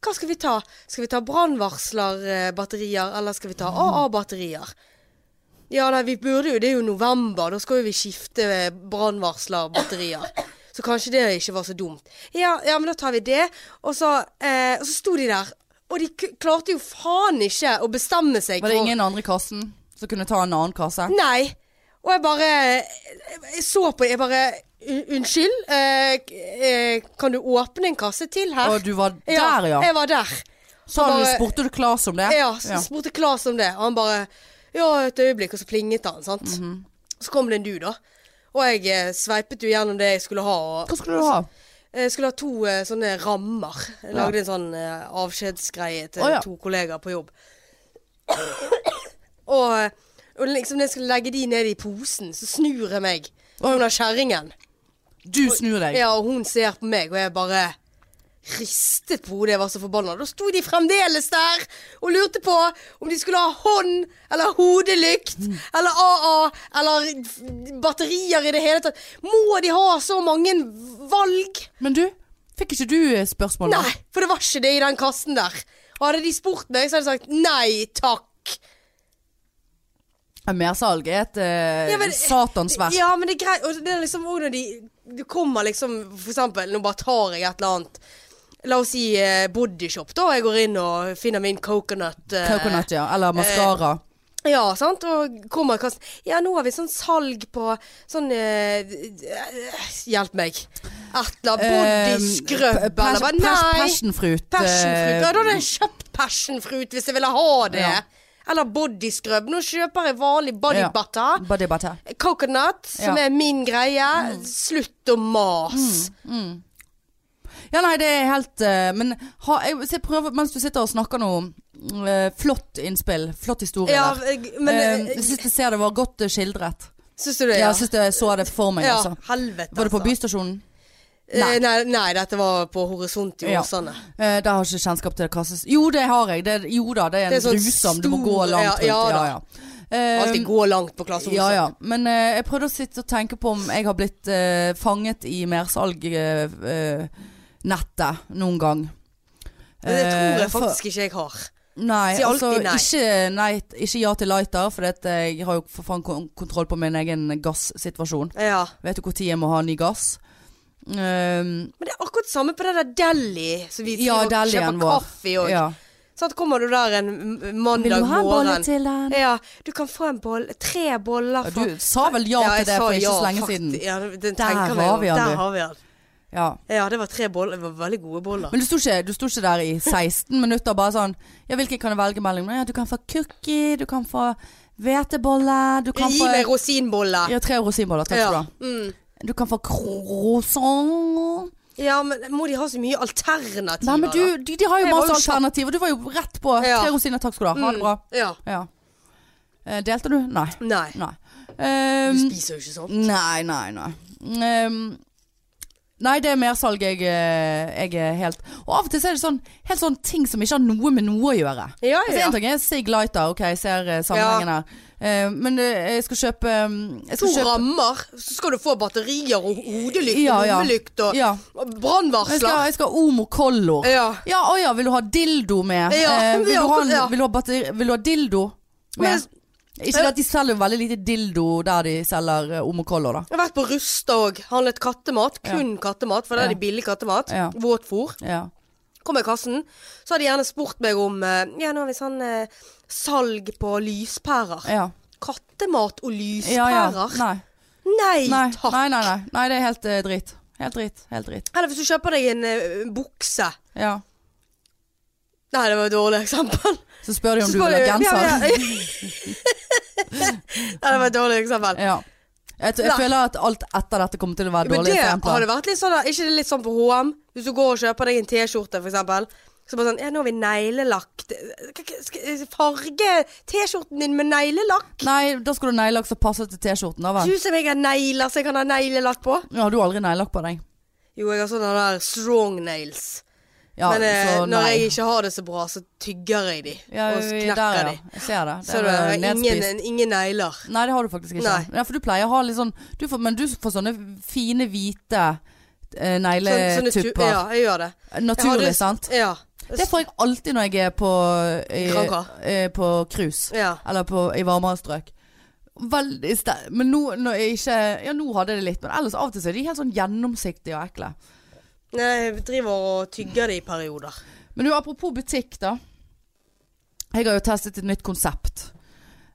A: Hva skal vi ta? Skal vi ta brannvarslerbatterier, eller skal vi ta AA-batterier? Ja, nei, vi burde jo Det er jo november, da skal jo vi skifte eh, brannvarslerbatterier. Så kanskje det ikke var så dumt. Ja, ja men da tar vi det. Og så, eh, og så sto de der. Og de k klarte jo faen ikke å bestemme seg.
B: Var det
A: for-
B: ingen andre i kassen som kunne ta en annen kasse?
A: Nei. Og jeg bare Jeg så på Jeg bare "Un- Unnskyld, eh, k- eh, kan du åpne en kasse til her?
B: Og du var der, ja.
A: Jeg var der.
B: Så han
A: bare-
B: spurte du Klas om det?
A: Ja, så spurte Klas om det, og han bare Ja, et øyeblikk, og så plinget han, sant.
B: Mhm.
A: Så kom det en du, da. Og jeg eh, sveipet jo gjennom det jeg skulle ha. Og
B: Hva skulle du ha?
A: jeg skulle ha to eh, sånne rammer. Jeg lagde en sånn eh, avskjedsgreie til
B: Å, ja.
A: to kollegaer på jobb. og, og liksom når jeg skulle legge de ned i posen, så snur jeg meg. Hun har kjerringen.
B: Du snur deg.
A: Ja, og hun ser på meg, og jeg bare ristet på hodet. Jeg var så forbanna. Da sto de fremdeles der og lurte på om de skulle ha hånd eller hodelykt eller AA eller f- batterier i det hele tatt. Må de ha så mange valg?
B: Men du, fikk ikke du eh, spørsmål? da?
A: Nei, for det var ikke det i den kassen der. Og hadde de spurt meg, så hadde jeg sagt nei takk.
B: Ja, Mersalg er et eh,
A: Ja, men-
B: satans verk.
A: Ja, men det er greit. Og det er liksom også når de Du kommer liksom, for eksempel, nå bare tar jeg et eller annet. La oss si eh, bodyshop, da. Jeg går inn og finner min coconut. eh,
B: Coconut, ja. Eller maskara.
A: Ja, sant. Og kommer i kassen. Ja, nå har vi sånn salg på sånn eh, eh, Hjelp meg. Et eller
B: Eh,
A: annet bodyskrubb eller hva? Nei.
B: Passionfruit.
A: Passionfruit. Ja, da
B: eh,
A: hadde jeg kjøpt passionfruit hvis jeg ville ha det.
B: Ja.
A: Eller bodyscrub. Nå kjøper jeg vanlig body
B: Ja.
A: butter.
B: Body butter.
A: Coconut, som
B: Ja. Mm.
A: er min greie. Slutt å mase.
B: Ja, nei, det er helt eh, Men ha, jeg, så jeg prøver, mens du sitter og snakker nå eh, Flott innspill. Flott historie
A: Ja,
B: der.
A: jeg- men
B: Eh, jeg syns jeg ser det var godt eh, skildret.
A: Syns du det?
B: Ja,
A: Ja,
B: jeg syns jeg så det for meg,
A: ja
B: altså.
A: helvete.
B: Var det på
A: altså.
B: Bystasjonen?
A: Eh, Nei, nei, dette var på Horisont i
B: Ja.
A: Åsane.
B: Eh, der har jeg ikke kjennskap til kasses... Jo, det har jeg. Det, er- jo da, det er en
A: Det er sånn
B: grusom Du må gå
A: stor- ja,
B: langt rundt.
A: ja
B: Ja,
A: da.
B: ja. Eh,
A: Alltid gå langt på Klasse Olsson.
B: ja, ja. Men eh, jeg prøvde å sitte og tenke på om jeg har blitt eh, fanget i mersalgnettet eh, nettet noen gang.
A: Men det tror
B: Eh,
A: jeg
B: for-
A: faktisk ikke jeg har.
B: Nei,
A: Si alltid
B: altså
A: nei.
B: Ikke, nei, ikke ja til lighter, for jeg har jo for faen kon- kontroll på min egen gassituasjon.
A: Ja.
B: Vet jo når jeg må ha ny gass. Ehm,
A: Men det er akkurat samme på det der deli som vi driver
B: Ja,
A: og
B: delien
A: kjøper
B: vår.
A: kaffe i òg.
B: ja.
A: Sånn kommer du der en m-
B: Vil
A: mandag
B: du ha en bolle
A: morgen.
B: til den?
A: Ja, du kan få en bolle, tre boller
B: Ja,
A: fra
B: Du sa vel ja,
A: Ja, jeg
B: til det
A: sa
B: for ikke
A: ja,
B: så lenge
A: fakt-
B: siden.
A: Ja, den
B: Der
A: tenker
B: har
A: meg
B: vi
A: jo.
B: han,
A: Der
B: du.
A: har vi han.
B: Ja.
A: Ja, det var tre boller. Det var veldig gode boller.
B: Men du sto, ikke, du sto ikke der i 16 minutter bare sånn Ja, hvilke kan jeg velge mellom? Ja, du kan få cookie, du kan få hvetebolle, du kan
A: Gi
B: få
A: meg rosinbolle!
B: Ja, tre rosinboller, takk skal du
A: Ja.
B: ha.
A: Mm.
B: Du kan få croissant
A: ja, men må de ha så mye alternativer?
B: Nei, men du, de, de har jo
A: Jeg var jo
B: masse
A: sjokk.
B: alternativer. Du var jo rett på.
A: Ja. Mm.
B: Tre rosiner, takk skal du ha. Ha det bra.
A: da? Ja.
B: Ja. Eh, Delte du? Nei.
A: Nei.
B: Nei.
A: Du
B: Ehm,
A: spiser jo ikke sånn.
B: nei, nei, nei. Ehm, Nei, det er mersalg jeg, eh, jeg er helt Og av og til så er det sånn, helt sånn ting som ikke har noe med noe å gjøre.
A: Ja,
B: Altså,
A: ja.
B: en ting er Sig Lighter, ok, jeg ser eh, sammenhengen her. Eh, men eh, jeg skal kjøpe eh, jeg
A: To
B: skal kjøpe,
A: rammer, så skal du få batterier og hodelykt
B: Ja, ja.
A: og lommelykt og,
B: Ja.
A: og
B: Jeg skal,
A: brannvarsler.
B: jeg skal ha Omo Collo.
A: Ja.
B: Ja, å ja, vil du ha dildo med?
A: Ja,
B: Eh, vil,
A: ja,
B: du ha, en-
A: ja.
B: vil, du ha batteri, vil du ha dildo med?
A: Men-
B: Ikke det at de selger veldig lite dildo der de selger eh, omokoller, da.
A: Jeg har vært på Rusta og handlet kattemat. Kun kattemat, for der er
B: Ja.
A: det billig kattemat.
B: Ja.
A: Våtfôr.
B: Ja.
A: Kom i kassen, så har de gjerne spurt meg om eh, Ja, nå har vi sånn eh, salg på lyspærer.
B: ja.
A: Kattemat og
B: ja, ja.
A: lyspærer?
B: Nei.
A: Nei,
B: Nei.
A: takk.
B: Nei, nei, nei. nei, det er helt eh, dritt. Helt dritt. Helt dritt.
A: Eller hvis du kjøper deg en eh, bukse.
B: Ja.
A: Nei, det var et dårlig eksempel.
B: Så spør de om
A: Så
B: du
A: spør
B: vil ha
A: jeg- Ja, ja,
B: genser.
A: ja. Nei, det var et dårlig eksempel.
B: Ja. Jeg, jeg
A: Nei.
B: føler at alt etter dette kommer til å være
A: Men det
B: dårlige
A: har
B: eksempler.
A: det vært litt sånn, da. Ikke det litt sånn på HM? Hvis du går og kjøper deg en T-skjorte, for eksempel. Så bare sånn Ja, nå har vi neglelagt Skal- skal- Farge T-skjorten min med neglelakk?
B: Nei, da skal du ha neglelakk som passer til T-skjorten. da vel?
A: Ser ut som jeg har negler som jeg kan ha neglelakk på.
B: Ja, har du aldri neglelakk på deg?
A: Jo, jeg har sånne der strong nails.
B: Ja,
A: Men eh,
B: så
A: når
B: nei.
A: jeg ikke har det så bra, så tygger jeg de.
B: ja,
A: og
B: vi-
A: knekker
B: der, ja.
A: de.
B: Jeg ser det.
A: Så
B: Det
A: det
B: er
A: er
B: nedspist.
A: ingen, ingen negler.
B: Nei, det har du faktisk ikke.
A: Nei.
B: Ja, for du pleier å ha litt sånn du får, Men du får sånne fine, hvite eh,
A: Sånn- sånne tu-
B: negletupper.
A: Ja, jeg gjør det. Jeg har
B: Naturlig,
A: lyst-
B: sant?
A: Ja.
B: Det får jeg alltid når jeg er på eh,
A: Granca.
B: eh, På cruise.
A: ja.
B: Eller på, i varmere strøk. Veldig sterk Men nå når jeg ikke Ja, nå hadde jeg det litt, men ellers av og til så er de helt sånn gjennomsiktige og ekle.
A: Nei, jeg driver og tygger det i perioder.
B: Men du, apropos butikk, da. Jeg har jo testet et nytt konsept.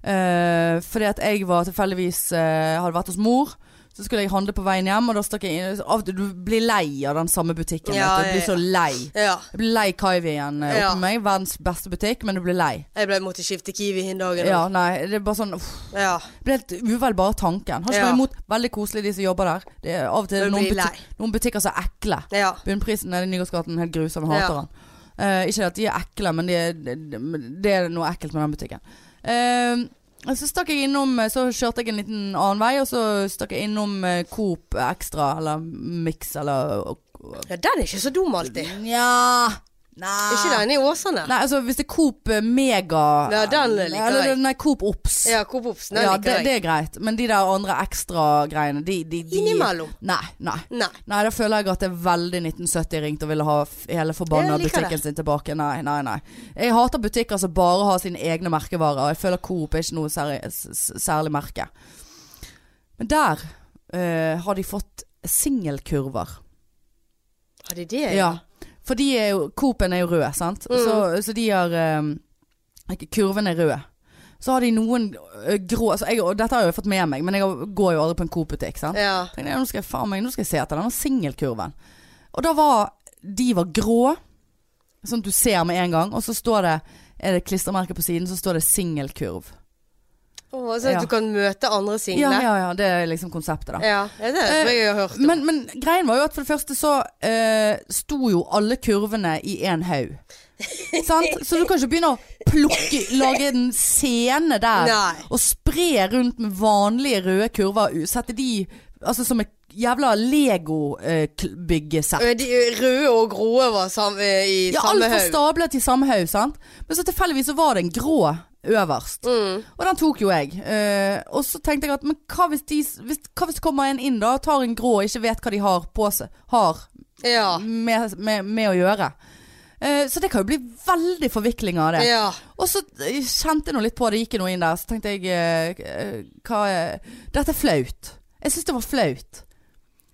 B: Eh, fordi at jeg var tilfeldigvis eh, Hadde vært hos mor. Så skulle jeg handle på veien hjem, og da stakk jeg inn av, Du blir lei av den samme butikken.
A: Ja,
B: vet du. du blir
A: ja,
B: så lei.
A: Ja.
B: Jeg blir lei Kaivi igjen eh,
A: Ja.
B: oppe med meg. Verdens beste butikk, men du blir lei.
A: Jeg ble måtte skifte kiwi en dag.
B: Ja, nei, det er bare sånn uff,
A: ja.
B: Det blir helt uvel bare tanken. Har ikke
A: Ja.
B: noe imot. Veldig koselig, de som jobber der. Det er av og til
A: Men
B: noen,
A: blir
B: buti- noen butikker som er ekle.
A: ja.
B: Bunnprisen nede i Nygårdsgaten helt grusom. Jeg hater
A: Ja.
B: den. Eh, ikke at de er ekle, men det de er noe ekkelt med den butikken. Eh, så stakk jeg innom eh, Så kjørte jeg en liten annen vei, og så stakk jeg innom eh, Coop Extra, eller Mix, eller
A: ja, den er ikke så dum alltid.
B: Nja Nei.
A: Ikke den i Åsane.
B: Nei, altså hvis det er Coop eh, Mega
A: Ja, den liker jeg.
B: Eller nei, Coop Ops.
A: Ja, Coop Ops. Den
B: Ja,
A: liker
B: det,
A: jeg.
B: det er greit. Men de der andre ekstra-greiene, de, de, de
A: Innimellom.
B: Nei. nei
A: Nei.
B: Nei, da føler jeg at det er veldig 1970 ringt og ville ha f- hele forbanna
A: Jeg liker
B: butikken sin tilbake. Nei, nei, nei. Jeg hater butikker som bare har sine egne merkevarer. Jeg føler Coop er ikke noe særlig, s- s- særlig merke. Men der eh, har de fått singelkurver.
A: Har de det?
B: Ja. For de er jo Coop-en er jo rød, sant.
A: Mm.
B: Så, så de har um, Kurven er rød. Så har de noen eh, grå altså jeg, Og dette har jeg jo fått med meg, men jeg går jo aldri på en Coop-butikk, sant.
A: Ja.
B: Tenkte jeg, nå skal jeg faen meg, nå skal jeg se etter denne singelkurven. Og da var, de var grå, sånn at du ser med en gang, og så står det, er det klistermerket på siden, så står det singelkurv.
A: Å, så
B: Ja.
A: du kan møte andre
B: Ja,
A: single? Eh,
B: ja, Eh, ja, det er liksom konseptet da.
A: Ja, ja, det tror jeg jeg har hørt om.
B: Men, men greien var jo at for det første så eh, sto jo alle kurvene i en haug. Sant? Så du kan ikke begynne å plukke, lage en scene der.
A: Nei.
B: Og spre rundt med vanlige røde kurver. u- Sette de altså, som et jævla eh, Lego-byggesett.
A: Ø, Eh, De ø, røde og grå var sam, ø, i
B: ja,
A: samme
B: alt var
A: haug.
B: stablet i samme haug, sant. Men så tilfeldigvis så var det en grå øverst.
A: Mm.
B: Og den tok jo jeg. Eh, og så tenkte jeg at men hva hvis, de, hvis, hva hvis det kommer en inn da, tar en grå og ikke vet hva de har på seg, har
A: Ja.
B: med, med, med å gjøre. Eh, så det kan jo bli veldig forvikling av det.
A: ja.
B: Og så eh, kjente jeg nå litt på det, gikk jeg nå inn der, så tenkte jeg eh, eh, hva er Dette er flaut. Jeg syns det var flaut.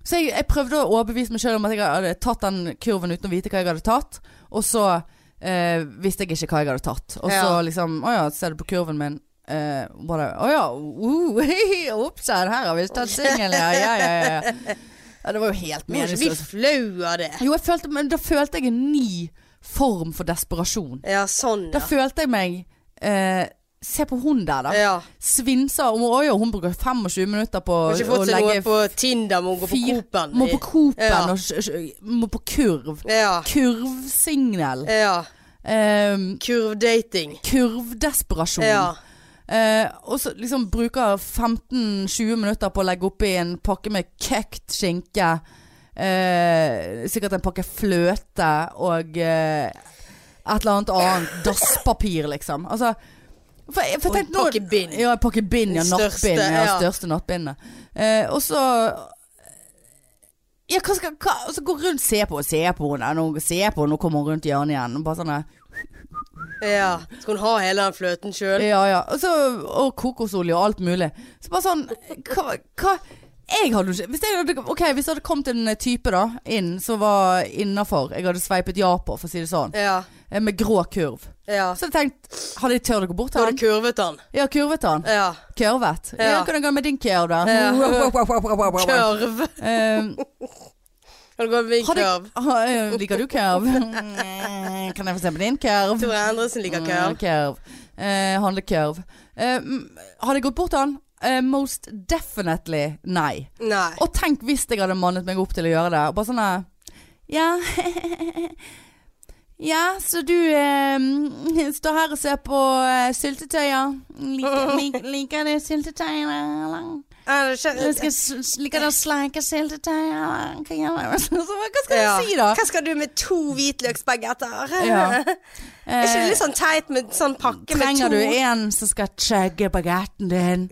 B: Så jeg, jeg prøvde å overbevise meg sjøl om at jeg hadde tatt den kurven uten å vite hva jeg hadde tatt, og så eh, visste jeg ikke hva jeg hadde tatt. Og så
A: Ja.
B: liksom Å ja, ser du på kurven min? Eh, bare Å ja, uh, ops, her har vi ikke tatt singelen, ja, ja, ja, ja. ja. Det var jo helt
A: Må ikke bli
B: meningsløst.
A: flau av det.
B: Jo, jeg følte, men da følte jeg en ny form for desperasjon.
A: Ja, sånn,
B: Da
A: ja.
B: følte jeg meg eh, Se på hun der, da.
A: ja.
B: Svinsa. Og, oi, og hun bruker 25 minutter på
A: Har ikke fått
B: å
A: seg noe
B: legge
A: på Tinder, må gå på
B: fire-
A: Coop-en.
B: Må på Coop-en
A: Ja.
B: og sj- sj- må på kurv.
A: Ja.
B: Kurvsignal.
A: ja.
B: Ehm,
A: Kurvdating.
B: kurvdesperasjon.
A: Ja.
B: Eh, og så liksom bruker 15-20 minutter på å legge oppi en pakke med kekt skinke. eh, sikkert en pakke fløte og eh, et eller annet annet dasspapir, liksom. Altså for, jeg- for
A: Og
B: tenk
A: en
B: nå-
A: pakke bind.
B: Ja, en pakke bind. Ja,
A: Den
B: nattbind.
A: største,
B: Ja,
A: ja.
B: største nattbindet. Eh, og så Ja, hva skal hva, Og så gå rundt, se på, se på henne. Nå, se på henne, nå kommer hun rundt hjørnet igjen. Og bare sånn der,
A: Ja. Skal hun ha hele den fløten sjøl?
B: Ja, ja. Og, så, og kokosolje og alt mulig. Så bare sånn Hva, hva jeg hadde jo ikke hvis, jeg hadde, ok, hvis det hadde kommet en type da inn som var innafor jeg hadde sveipet ja på, for å si det sånn,
A: Ja.
B: eh, med grå kurv,
A: ja.
B: så hadde jeg tenkt Hadde jeg tørt å gå bort
A: Så
B: til
A: har
B: han?
A: du kurvet den.
B: Ja, kurvet han.
A: Ja.
B: Kurvet. Ja,
A: Ja.
B: hvordan går det med din kurv, da?
A: Ja. Kurv.
B: Eh,
A: Kan du gå med min
B: hadde jeg-
A: kurv?
B: Ha, eh, liker du kurv? kan jeg få se på din kurv?
A: Tore Endresen liker
B: Mm,
A: kurv.
B: kurv. Eh, handlekurv. Eh, mm, hadde jeg gått bort til han? Eh, most definitely nei.
A: Nei.
B: Og tenk hvis jeg hadde mannet meg opp til å gjøre det. Og bare sånn eh, Ja. Ja, så du eh, står her og ser på eh, syltetøyer. Liker, lik, liker du syltetøyene, eller?
A: Ja, det skjø-
B: Jeg skal s- liker du å sleike syltetøy, eller? Hva gjør jeg? Så, hva skal jeg
A: Ja.
B: si, da?
A: Hva skal du med to hvitløksbagetter?
B: Ja.
A: Er ikke det
B: Eh,
A: litt sånn teit med sånn pakke med
B: Trenger
A: to?
B: du en som skal chugge bagetten din?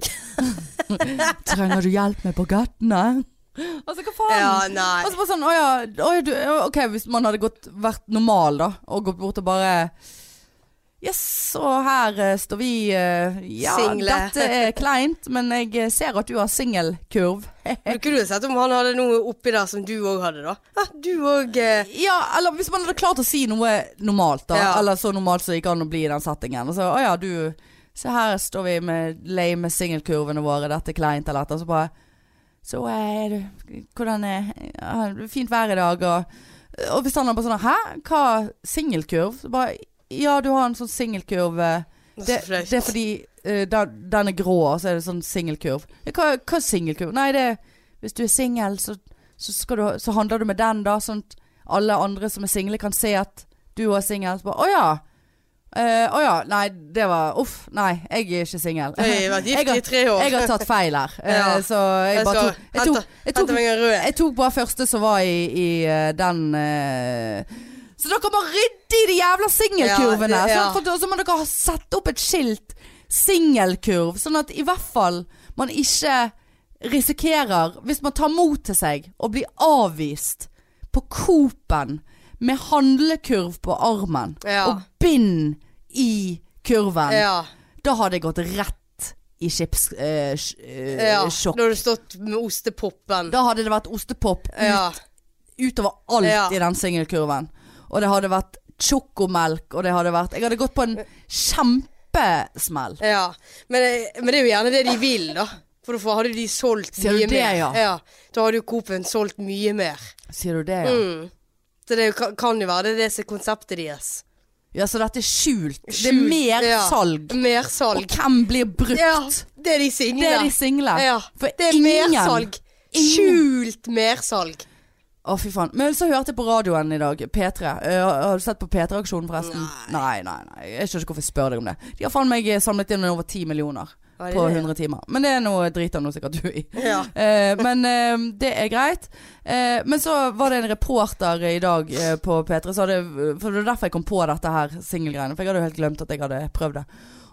B: Trenger du hjelp med bagettene? Altså, hva faen?
A: Ja, nei.
B: Altså bare sånn, åja, åja, du, ja, ok, hvis man hadde gått, vært normal da, og gått bort og bare Yes, og her eh, står vi eh, Ja,
A: Single.
B: dette er kleint, men jeg eh, ser at du har singelkurv.
A: Kunne ikke du sett om han hadde noe oppi der som du òg hadde, da? Ja, du òg eh,
B: Ja, eller hvis man hadde klart å si noe normalt, da.
A: Ja.
B: Eller så normalt som det gikk an å bli i den settingen. Og så, å ja, du Se her står vi med lame singelkurvene våre, dette er kleint eller dette. Så bare Så eh, er du Hvordan er ja, det er Fint vær i dag, og Og hvis han er bare sånn Hæ? Hva? Singelkurv? Så bare Ja, du har en sånn singelkurv. eh,
A: Nå
B: Det,
A: så flaut.
B: det er fordi eh, den, den er grå, og så er det sånn singelkurv. Ja, Hva, hva er singelkurv? Nei, det er Hvis du er singel, så, så, skal du, så handler du med den, da. Sånn at alle andre som er single, kan se at du også er singel. Så bare Å ja. Eh, Å ja. Nei, det var Uff. Nei, jeg er ikke singel.
A: Jeg har vært gift i
B: har,
A: tre år.
B: jeg har tatt feil her. Eh,
A: Ja.
B: Så jeg
A: Jeg
B: bare
A: skal
B: tok Jeg tok, jeg tok,
A: Henter meg en rød.
B: jeg tok bare første som var i, i eh, den eh, Så dere må rydde i de jævla singelkurvene!
A: Ja, det- ja.
B: sant? For da- Så må dere ha sette opp et skilt 'singelkurv', sånn at i hvert fall man ikke risikerer, hvis man tar mot til seg, å bli avvist på Coop-en med handlekurv på armen
A: Ja.
B: og bind i kurven.
A: Ja.
B: Da hadde jeg gått rett i chipssjokk. Eh, sj- eh,
A: ja.
B: sjokk.
A: Da har du stått med ostepoppen.
B: da hadde det vært ostepop ut
A: Ja.
B: utover alt
A: Ja.
B: i den singelkurven. Og det hadde vært sjokomelk, og det hadde vært Jeg hadde gått på en kjempesmell.
A: ja. Men, eh, men det er jo gjerne det de vil, da. For da hadde de solgt
B: Sier du
A: mye
B: det,
A: mer.
B: ja?
A: Da hadde jo Coop-en solgt mye mer.
B: Sier du det, ja?
A: Mm. Så det er jo- kan- kan jo være det er det som er konseptet deres.
B: Ja, så dette er skjult. det er
A: Skjult,
B: mer
A: ja.
B: salg.
A: Mer
B: Og
A: salg.
B: hvem blir brukt?
A: Ja, det er de single.
B: Det er de single.
A: Ja.
B: For
A: Det er
B: ingen
A: mersalg.
B: Ingen.
A: Skjult mersalg.
B: Å, fy faen. Men så hørte jeg på radioen i dag, P3. Eh, har du sett på P3-aksjonen, forresten? Nei. nei, nei, Jeg skjønner ikke hvorfor jeg spør deg om det. De har faen meg eh, samlet inn over 10 millioner
A: Ja, det er
B: på
A: det.
B: 100 timer. Men det er noe drit av noe sikkert du i.
A: Ja.
B: Eh, men eh, det er greit. Eh, men så var det en reporter i dag eh, på P3, så hadde, for det var derfor jeg kom på dette her singelgreiene. For jeg hadde jo helt glemt at jeg hadde prøvd det.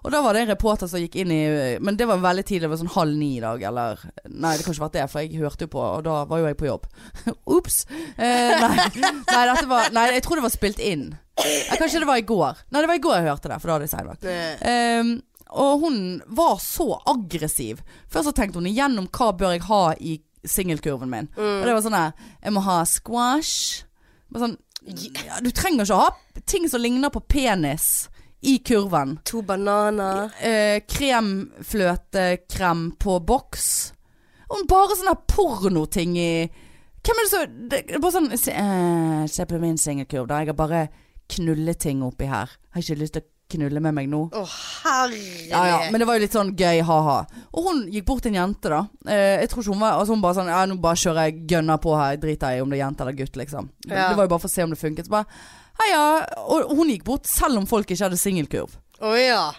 B: Og da var det en reporter som gikk inn i Men det var veldig tidlig, det var sånn halv ni i dag, eller Nei, det kan ikke vært det, for jeg hørte jo på, og da var jo jeg på jobb. Ops! Eh, nei, nei, dette var Nei, jeg tror det var spilt inn. Eh, kanskje det var i går. Nei, det var i går jeg hørte det, for da hadde jeg seinvakt.
A: Det-
B: Ehm, og hun var så aggressiv. Først så tenkte hun igjennom hva bør jeg ha i singelkurven min. Og det var sånn der Jeg må ha squash. Bare sånn, ja, du trenger ikke å ha ting som ligner på penis i kurven.
A: To bananer.
B: Eh, kremfløtekrem på boks. Hun bare sånne pornoting i Hvem er det som det er Bare sånn se, eh, se på min singelkurv, da. Jeg har bare knulleting oppi her. Har ikke lyst til å knulle med meg nå.
A: Å, herlig.
B: Ja, ja, men det var jo litt sånn gøy, ha-ha. Og hun gikk bort til en jente, da. Eh, jeg tror ikke hun var Altså hun bare sånn Ja, nå bare kjører jeg gønna på her. Jeg driter i om det er jente eller gutt, liksom. Men
A: Ja.
B: Det var jo bare for å se om det funket. Så bare Heia. Og hun gikk bort selv om folk ikke hadde singelkurv.
A: Å ja.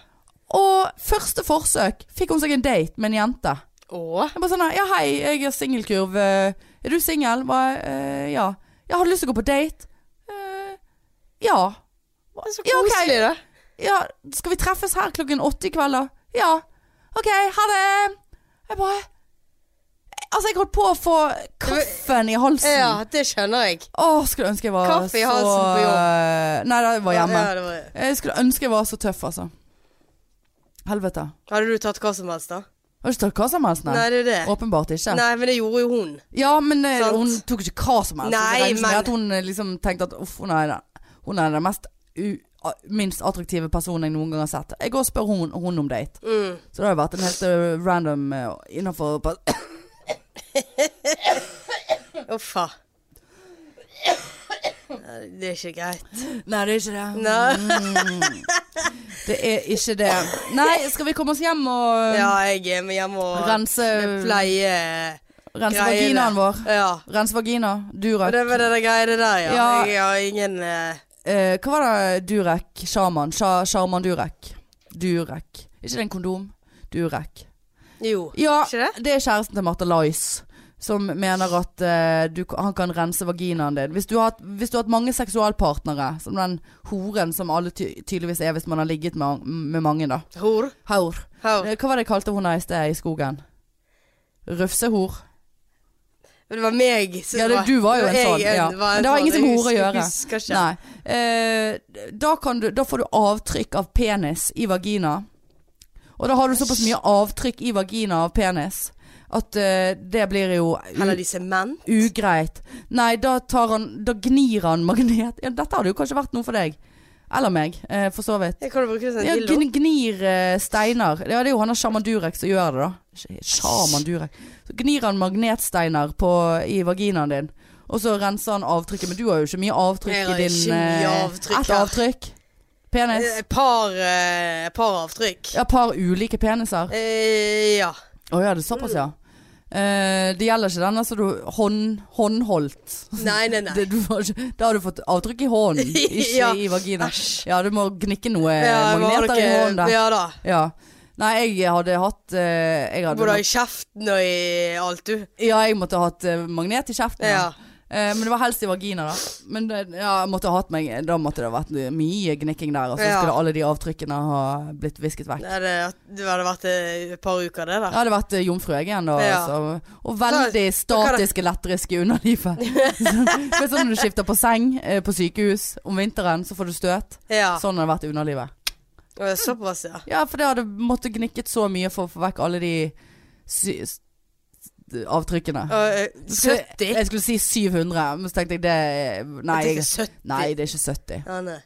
B: Og første forsøk fikk hun seg en date med en jente.
A: Å?
B: Jeg bare sånn, ja hei, jeg er singelkurv. Eh, Er du singel? Bare, eh, Ja. Jeg hadde lyst til å gå på date. Eh, ja.
A: Det er så
B: Ja, ok.
A: koselig, da.
B: Ja, skal vi treffes her klokken åtte i kveld da? Ja. Ok, ha det. Jeg bare... Altså, jeg holdt på å få kaffen i halsen.
A: Ja, det skjønner jeg.
B: Åh, skulle ønske jeg var
A: Kaffe i halsen
B: så... eh,
A: på
B: Nei, da, jeg var hjemme.
A: Ja, det var...
B: Jeg skulle ønske jeg var så tøff, altså. Helvete.
A: Hadde du tatt hva som helst, da?
B: Har du ikke tatt hva som helst,
A: Nei,
B: nei?
A: det er jo det.
B: Åpenbart ikke.
A: Nei, men det gjorde jo hun.
B: Ja, men eh,
A: Sant.
B: hun tok ikke hva som helst.
A: Nei,
B: jeg regner
A: men-
B: med at hun eh, liksom tenkte at uff, hun er den, hun er den mest u a- minst attraktive personen jeg noen gang har sett. Jeg går og spør hun, hun om date.
A: Mm.
B: Så det har jo vært en helt eh, random uh, innafor
A: Å, faen. Nei, Det er ikke greit.
B: Nei, det er ikke det.
A: Nei.
B: Det er ikke det. Nei, skal vi komme oss hjem og eh,
A: Ja, jeg er med hjemme og
B: rense,
A: pleie
B: rense
A: greiene.
B: vaginaen vår?
A: Ja.
B: Rense vagina.
A: Og
B: Durek.
A: det var det der greiene der, ja.
B: Ja.
A: Jeg har ingen eh,
B: Eh, hva var det? Durek? Sjaman? Sja- Sjaman Durek? Durek. Ikke det en kondom? Durek.
A: Jo.
B: Ja,
A: Ikke det?
B: det er kjæresten til Martha Lice. Som mener at eh, du, han kan rense vaginaen din. Hvis du har, hatt- hvis du har hatt mange seksualpartnere, som den horen som alle ty tydeligvis er hvis man har ligget med, med mange, da.
A: Hor.
B: Haur.
A: Hor.
B: Eh, Hva var det jeg kalte hun her i sted i skogen? Røfsehor.
A: Men det var meg som
B: Ja, det, du var jo en
A: jeg
B: sånn. Ja.
A: var en
B: Men det har
A: sånn,
B: ingenting med
A: jeg
B: hore å
A: husker-
B: gjøre.
A: Husker ikke.
B: Nei. Eh, da, kan du, da får du avtrykk av penis i vagina. Og da har du såpass mye avtrykk i vagina av penis at eh, det blir jo u
A: Eller disse menn.
B: ugreit. Nei, da, tar han, da gnir han magnet. Ja, dette hadde jo kanskje vært noe for deg. Eller meg, eh, for så vidt.
A: Jeg kan jo bruke sånn
B: Ja,
A: dildo.
B: gn- gnir eh, steiner. Ja, det er jo han der sjaman Durek som gjør det, da. Sjaman Durek. Så gnir han magnetsteiner på, i vaginaen din. Og så renser han avtrykket. Men du har jo ikke mye avtrykk
A: Jeg har
B: i din
A: ikke mye
B: eh,
A: avtrykk,
B: Ett
A: ja.
B: avtrykk. Penis.
A: Et par, eh, par avtrykk.
B: Ja, par ulike peniser.
A: Eh, ja.
B: Å ja, det er såpass, ja.
A: Mm.
B: Eh, det gjelder ikke denne som du hånd, håndholdt.
A: Nei, nei, nei.
B: Det, du får ikke, da har du fått avtrykk i hånden, ikke
A: Ja.
B: i vagina.
A: Æsj.
B: Ja, du må gnikke noe
A: Ja, hva har
B: magneter i
A: dere-
B: hånden der. Ja.
A: Ja da.
B: Nei, jeg hadde hatt eh, jeg hadde
A: Både i kjeften og i alt, du.
B: Ja, jeg måtte ha hatt eh, magnet i kjeften.
A: Ja.
B: ja. Eh, men det var helst i vagina, da. Men det, ja, jeg måtte ha hatt meg Da måtte det ha vært mye gnikking der. Og så
A: Ja.
B: skulle alle de avtrykkene ha blitt visket vekk.
A: Det hadde, det hadde vært eh, et par uker, det
B: Jeg
A: der.
B: hadde vært eh, jomfru jeg igjen, da.
A: Ja.
B: Altså, og veldig statiske, elektriske underlivet. Det er sånn når du skifter på seng eh, på sykehus om vinteren, så får du støt.
A: Ja.
B: Sånn har det vært i underlivet.
A: Og Såpass, ja.
B: Ja, for det hadde måttet gnikket så mye for å få vekk alle de sy s- avtrykkene.
A: Og, eh,
B: Skulle-
A: 70?
B: Jeg skulle si 700, men så tenkte jeg det er- Nei,
A: Jeg
B: jeg,
A: tenker 70.
B: nei det er ikke 70.
A: Ja, nei.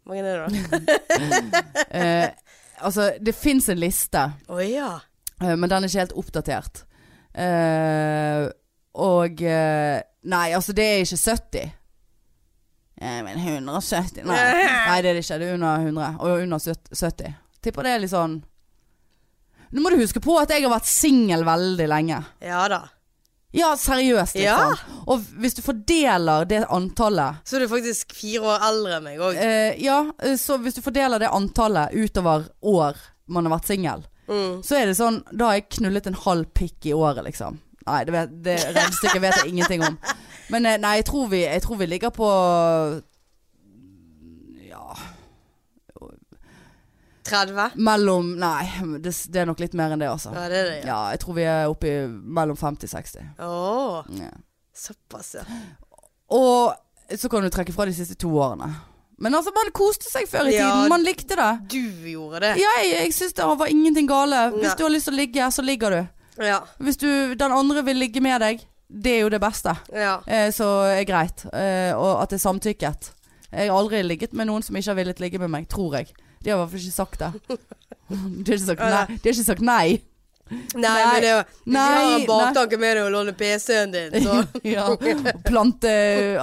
A: Hvor mange er det, da?
B: Eh, altså, det fins en liste,
A: Å ja.
B: eh, men den er ikke helt oppdatert. Eh, og eh, Nei, altså, det er ikke 70. Eh, men 170 Nei, nei det er det ikke. Det er under 100. Og under 70. Tipper det er litt sånn Nå må du huske på at jeg har vært singel veldig lenge.
A: Ja da.
B: Ja, seriøst,
A: Ja.
B: liksom. Og hvis du fordeler det antallet
A: Så er du faktisk fire år eldre enn meg òg.
B: eh, Ja, eh, så hvis du fordeler det antallet utover år man har vært singel,
A: Mm.
B: så er det sånn Da har jeg knullet en halv pikk i året, liksom. Nei, det, vet, det regnestykket vet jeg ingenting om. Men eh, nei, jeg tror vi, jeg tror vi ligger på Ja
A: 30?
B: Mellom Nei, det, det er nok litt mer enn det, altså.
A: Ja, det er det, ja.
B: Ja, jeg tror vi er oppe i mellom 50 og 60.
A: Å,
B: Ja.
A: såpass, ja.
B: Og så kan du trekke fra de siste to årene. Men altså, man koste seg før i
A: Ja.
B: tiden. Man likte det.
A: Du gjorde det.
B: Ja, jeg, jeg syns det var ingenting gale.
A: Nei.
B: Hvis du har lyst til å ligge, så ligger du.
A: Ja.
B: Hvis du, den andre vil ligge med deg, det er jo det beste.
A: ja.
B: Eh, så er greit. Eh, og at det er samtykket. Jeg har aldri ligget med noen som ikke har villet ligge med meg, tror jeg. De har i hvert fall ikke sagt det. De har ikke sagt nei. De har ikke sagt nei.
A: Nei,
B: Nei.
A: men det er jo Hvis
B: Nei,
A: jeg har en
B: nei.
A: baktanke med deg og låner PC-en din, så
B: ja. og Plante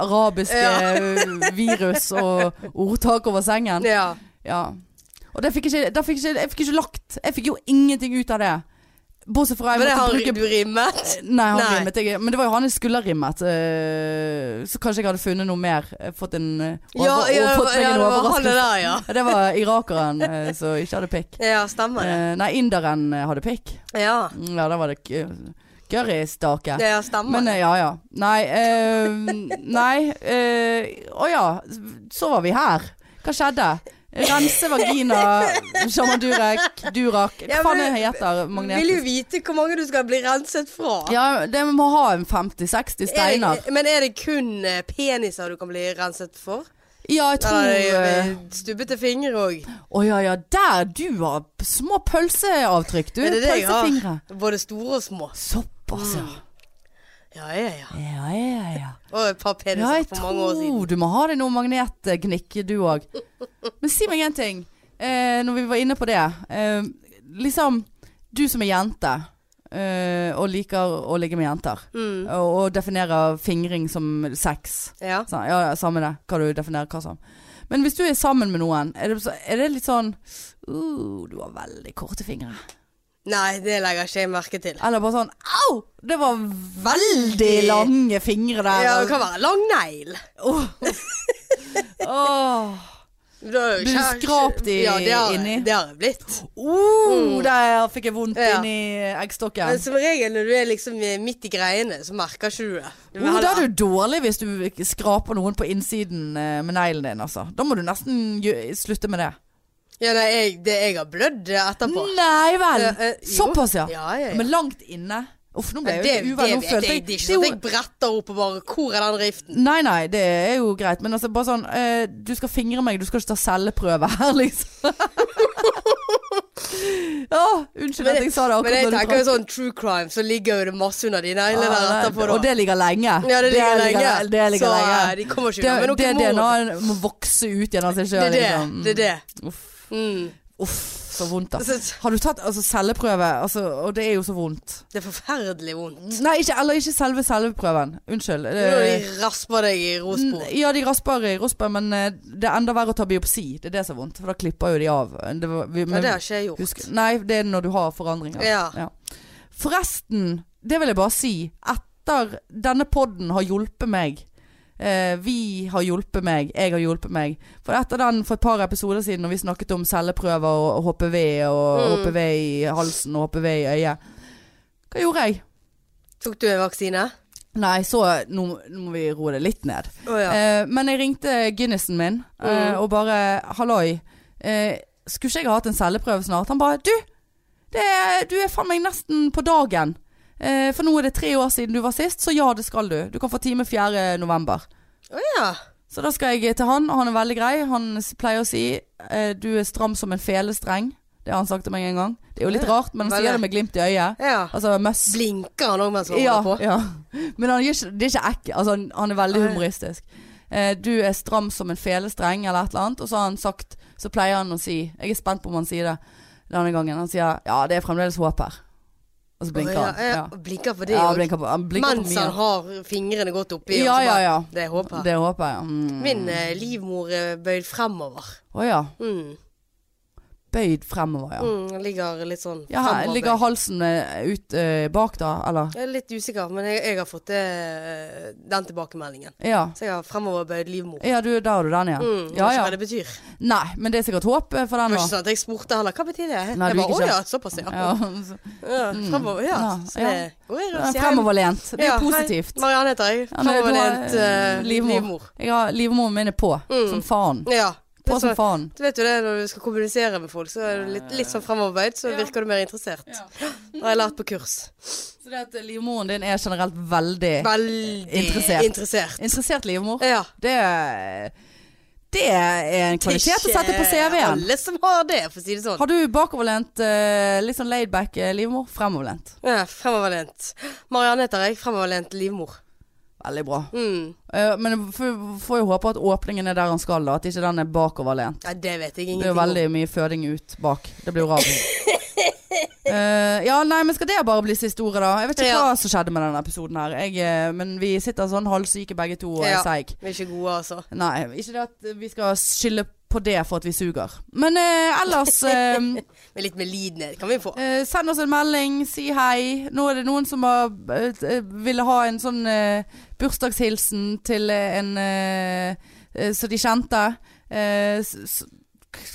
B: arabiske virus og ordtak over sengen.
A: Ja.
B: Ja. Og det fikk ikke, da fikk ikke, jeg fikk ikke lagt Jeg fikk jo ingenting ut av det. Bortsett fra jeg
A: Men det har
B: måtte bruke
A: du rimet.
B: Nei, han
A: Nei.
B: rimmet. Jeg, men det var jo han jeg skulle ha rimmet. eh, så kanskje jeg hadde funnet noe mer. eh, Fått en eh,
A: Ja,
B: over-
A: ja, det
B: fått
A: var-
B: meg
A: ja,
B: en
A: det var han
B: overraskelse.
A: det der, ja.
B: Ja, Det var irakeren eh, som ikke hadde pikk.
A: Ja, stemmer det.
B: Eh, nei, inderen eh, hadde pikk.
A: Ja,
B: Mm, Ja, da var det k- currystake.
A: det ja, stemmer
B: Men
A: det.
B: eh, ja, ja. Nei. eh, nei. eh, Å ja. Så var vi her. Hva skjedde? Rense vagina, Shaman Durek, Durak Hva
A: Ja,
B: faen
A: men-
B: er det heter?
A: Vil jo
B: Magnetisk?
A: vite hvor mange du skal bli renset fra.
B: Ja, det må ha en 50-60
A: Er
B: steiner.
A: det, men er det kun eh, peniser du kan bli renset for?
B: Ja, jeg tror
A: Eller
B: eh,
A: eh, stubbete fingre òg?
B: Å ja, ja. Der du har p- små pølseavtrykk, du.
A: Er det det jeg har? Mm.
B: Pølsefingre.
A: Både store og små.
B: Såpass, ja.
A: Ja, ja, ja.
B: Ja, ja, ja.
A: Og et par peniser
B: Ja, jeg
A: for mange år siden.
B: tror du må ha deg noe magnetgnikk, du òg. Men si meg en ting, eh, når vi var inne på det. Eh, liksom, du som er jente, eh, og liker å ligge med jenter,
A: Mm.
B: og, og definerer fingring som sex.
A: Ja.
B: Sa- Ja, ja, samme det. Hva du definerer hva som. Men hvis du er sammen med noen, er det, så- er det litt sånn uh, Du har veldig korte fingre.
A: Nei, det legger ikke jeg merke til.
B: Eller bare sånn Au! Det var veldig lange fingre der.
A: Ja, det kan være lang negl.
B: Åh. Åh.
A: Da-
B: Blir du
A: kjære-
B: skrapt i-
A: ja, det har,
B: inni?
A: Det har jeg blitt.
B: Uh, der fikk jeg vondt
A: Mm. Ja.
B: inni
A: Men
B: eggstokken.
A: som regel når du er liksom eh, midt i greiene, så merker ikke du det. Du vil
B: Oh, da
A: heller-
B: er du dårlig hvis du skraper noen på innsiden eh, med neglen din, altså. Da må du nesten gjø- slutte med det.
A: Ja, nei, jeg, det, jeg har blødd eh, etterpå.
B: Nei vel!
A: Eh, eh, jo.
B: Såpass, Mm, ja.
A: Ja, ja, ja.
B: Men langt inne. Uff, nå ble
A: Men
B: jeg
A: det
B: jo uvel. Nå
A: vet jeg.
B: følte jeg
A: Det er ikke
B: det er
A: sånn at
B: jo-
A: jeg bretter opp og bare Hvor er den riften?
B: Nei, nei, det er jo greit. Men altså, bare sånn eh, Du skal fingre meg, du skal ikke ta celleprøve her, liksom. Ja, unnskyld
A: Men-
B: at jeg sa det
A: Men
B: akkurat
A: jeg
B: når du
A: tenker jo sånn true crime, så ligger jo det masse under de neglene der
B: Ja,
A: etterpå.
B: det-
A: Da.
B: Og det ligger lenge.
A: ja, det ligger lenge.
B: Det ligger
A: så
B: lenge.
A: eh, de kommer ikke
B: Det,
A: unna med noe
B: det
A: mord.
B: DNA-en må vokse ut igjen av seg
A: Det
B: sjøl.
A: er det.
B: Liksom.
A: Det er det.
B: Uff,
A: Mm.
B: uff, så vondt, da.
A: Altså,
B: Har du tatt altså, celleprøve? Altså, og det er jo så vondt.
A: det er forferdelig vondt.
B: Nei, ikke, eller ikke selve celleprøven. Unnskyld.
A: Det er Når
B: Eh,
A: de rasper deg i rosbord.
B: Ja, de rasper i rosper, men eh, det er enda verre å ta biopsi. Det er det som er vondt, for da klipper jo de av. Det, var- vi,
A: Ja,
B: men-
A: det har ikke jeg gjort.
B: husk, nei, det er når du har forandringer.
A: Ja.
B: Forresten, det vil jeg bare si. Etter denne podden har hjulpet meg. Eh, vi har hjulpet meg, jeg har hjulpet meg. For etter den for et par episoder siden når vi snakket om celleprøver og og HPV og
A: Mm.
B: HPV i halsen og HPV i øyet. Hva gjorde jeg?
A: Tok du en vaksine?
B: Nei, så nå, nå må vi roe det litt ned.
A: Å ja.
B: Eh, men jeg ringte Guinnessen min eh,
A: Mm.
B: og bare Halloi, eh, skulle ikke jeg ha hatt en celleprøve snart? Han bare Du, det, er- du er faen meg nesten på dagen. Eh, for nå er det tre år siden du var sist, så ja, det skal du. Du kan få time 4. november.
A: Eh, Å ja.
B: Så da skal jeg til han, og han er veldig grei. Han s- pleier å si eh, du er stram som en felestreng. Det har han sagt til meg en gang. Det er jo litt
A: Ja,
B: rart, men han
A: veldig.
B: sier det med glimt i øyet.
A: ja.
B: Altså møss.
A: Blinker han òg mens han
B: Ja,
A: holder på?
B: ja. Men han, gjør ikke, det er ikke ekk, altså, han, han er veldig
A: Nei.
B: humoristisk. Eh, du er stram som en felestreng eller et eller annet, og så har han sagt, så pleier han å si, jeg er spent på om han sier det denne gangen, han sier, ja, det er fremdeles håp her. Og så blinker
A: Å,
B: han.
A: ja, ja.
B: Ja,
A: Blinker på det
B: ja han
A: også.
B: blinker på, han blinker på
A: Mens han
B: mye.
A: har fingrene godt oppi. og
B: Ja,
A: så
B: ja,
A: bare,
B: ja.
A: Det håper jeg.
B: Det håper jeg. Mm.
A: Min eh, livmor er bøyd fremover.
B: Åja,
A: Mm.
B: bøyd fremover, ja.
A: Mm, den ligger litt sånn
B: Ja, her
A: fremover.
B: ligger halsen eh, ut eh, bak da, eller?
A: Jeg er litt usikker, men jeg, jeg har fått eh, den tilbakemeldingen.
B: Ja.
A: Så jeg har fremoverbøyd livmor.
B: Ja, du, der har du den igjen.
A: Mm,
B: Ja,
A: vet
B: ja.
A: Ikke hva det betyr.
B: Nei, men det er sikkert håp eh,
A: Det
B: for den
A: var
B: da.
A: ikke sånn at jeg spurte heller. Hva betyr det?
B: Nei,
A: jeg
B: du
A: bare,
B: gikk
A: Å
B: ikke
A: ja, såpass, ja. ja.
B: Ja, Mm.
A: fremover, ja.
B: Ja,
A: Så det går jeg og
B: Ja,
A: sier hei.
B: Fremoverlent. Det er
A: Ja, hei.
B: positivt.
A: Marianne heter jeg.
B: Ja, men du har,
A: Fremoverlent
B: eh,
A: eh,
B: livmor.
A: livmor.
B: Jeg har livmoren min er på.
A: Mm.
B: Som faen.
A: Ja. Det
B: På
A: er
B: som
A: sånn-
B: faen.
A: du vet jo det, når du skal kommunisere med folk, så er du litt, litt sånn fremoverbeid, så
B: Ja.
A: virker du mer interessert. Det har jeg lært på kurs.
B: Så det at livmoren din er generelt veldig
A: Veldig
B: Eh, Interessert.
A: interessert.
B: interessert livmor,
A: Ja.
B: det det er en kvalitet å
A: ikke
B: sette på CV-en.
A: Alle som har det, for å si det sånn.
B: Har du bakoverlent, eh, litt sånn laidback eh, livmor? Fremoverlent.
A: Ja, fremoverlent. Marianne heter jeg. Fremoverlent livmor.
B: Veldig bra.
A: Mm.
B: Eh, Men jeg får- får jo håpe at åpningen er der den skal, da. At ikke den er bakoverlent.
A: Ja, det vet jeg
B: Det er
A: ingenting
B: jo veldig mye føding ut bak. Det blir jo rart. Eh, ja, nei, men skal det bare bli siste ordet, da? Jeg vet ikke
A: Ja.
B: hva som skjedde med denne episoden her. Jeg, eh, men vi sitter sånn halvsyke begge to og er
A: Ja.
B: seig.
A: om. Vi er ikke gode, altså.
B: Nei, ikke det at vi skal skylde på det for at vi suger. Men eh, ellers eh,
A: Med litt medlidenhet kan vi få.
B: eh, Send oss en melding, si hei. Nå er det noen som har, eh, ville ha en sånn eh, bursdagshilsen til eh, en eh, eh, Så de kjente. Eh, s s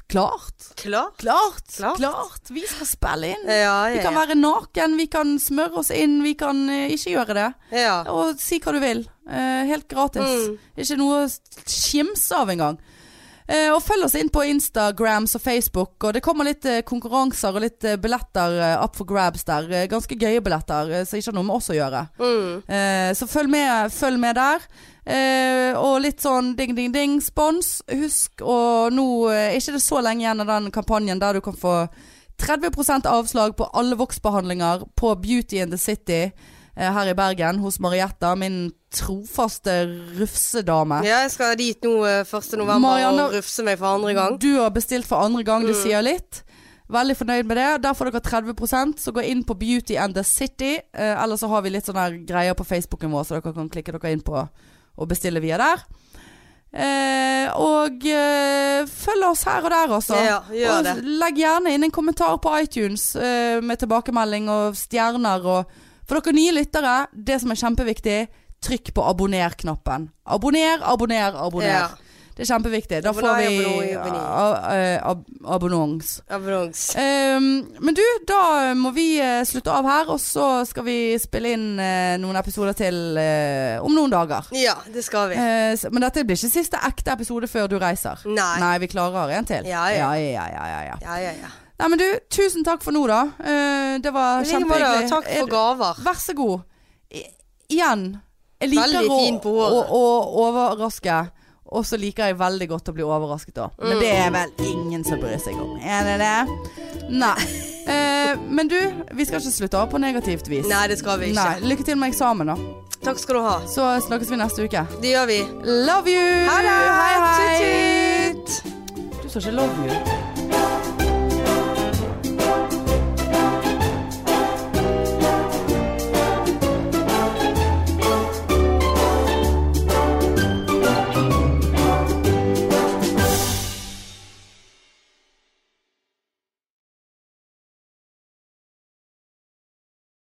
B: klart.
A: Klart.
B: klart!
A: Klart.
B: Klart! Vi skal spille inn.
A: Ja, ja, ja.
B: Vi kan være naken, vi kan smøre oss inn, vi kan eh, ikke gjøre det.
A: ja.
B: Og si hva du vil. Eh, helt gratis.
A: Mm.
B: Ikke noe å skimse av engang. Eh, og følg oss inn på Instagrams og Facebook. Og det kommer litt eh, konkurranser og litt eh, billetter eh, up for grabs der. Eh, ganske gøye billetter eh, som ikke har noe med oss å gjøre.
A: Mm.
B: Eh, så følg med, følg med der. Eh, og litt sånn ding, ding, ding, spons. Husk å nå eh, Ikke det er så lenge igjen av den kampanjen der du kan få 30 avslag på alle voksbehandlinger på Beauty in the City eh, her i Bergen hos Marietta, min trofaste rufsedame.
A: ja, jeg skal dit nå eh, 1. november
B: Marianne-
A: og rufse meg for andre gang. Mm.
B: Du har bestilt for andre gang, det sier litt. Veldig fornøyd med det. Der får dere 30 så gå inn på Beauty and the City. Eh, eller så har vi litt sånne her greier på Facebooken vår, så dere kan klikke dere inn på og bestille via der. Eh, og eh, følg oss her og der, altså.
A: Ja, gjør
B: og
A: det.
B: legg gjerne inn en kommentar på iTunes eh, med tilbakemelding og stjerner og For dere nye lyttere, det som er kjempeviktig, trykk på abonner-knappen. Abonner, abonner, abonner.
A: Ja.
B: Det er kjempeviktig. Da får
A: Abonner,
B: vi
A: abonner,
B: a-
A: abonner.
B: a- eh, ab abonnons.
A: Abonnons.
B: Ehm, men du, da må vi eh, slutte av her, og så skal vi spille inn eh, noen episoder til eh, om noen dager.
A: Ja, det skal vi.
B: Eh, s- men dette blir ikke siste ekte episode før du reiser.
A: Nei.
B: Nei, vi klarer en til.
A: Ja,
B: ja,
A: ja.
B: ja, ja, ja, ja.
A: Ja, ja, ja.
B: Nei, men du, tusen takk for nå, da. Eh, det var
A: I like måte.
B: kjempehyggelig.
A: Takk
B: Er
A: for
B: du-
A: gaver.
B: Vær så god. I, igjen. Jeg liker
A: Veldig fin på
B: å, å,
A: håret.
B: å overraske, og så liker jeg veldig godt å bli overrasket òg. Men det
A: Mm.
B: er vel ingen som bryr seg om. Er det det? Nei. Eh, men du, vi skal ikke slutte av på negativt vis.
A: Nei, det skal vi ikke.
B: Nei, Lykke til med eksamen, da.
A: Takk skal du ha.
B: Så snakkes vi neste uke.
A: Det gjør vi.
B: Love you!
A: Ha det!
B: Hei, hei!
A: Tut, tut.
B: Du sa ikke love you.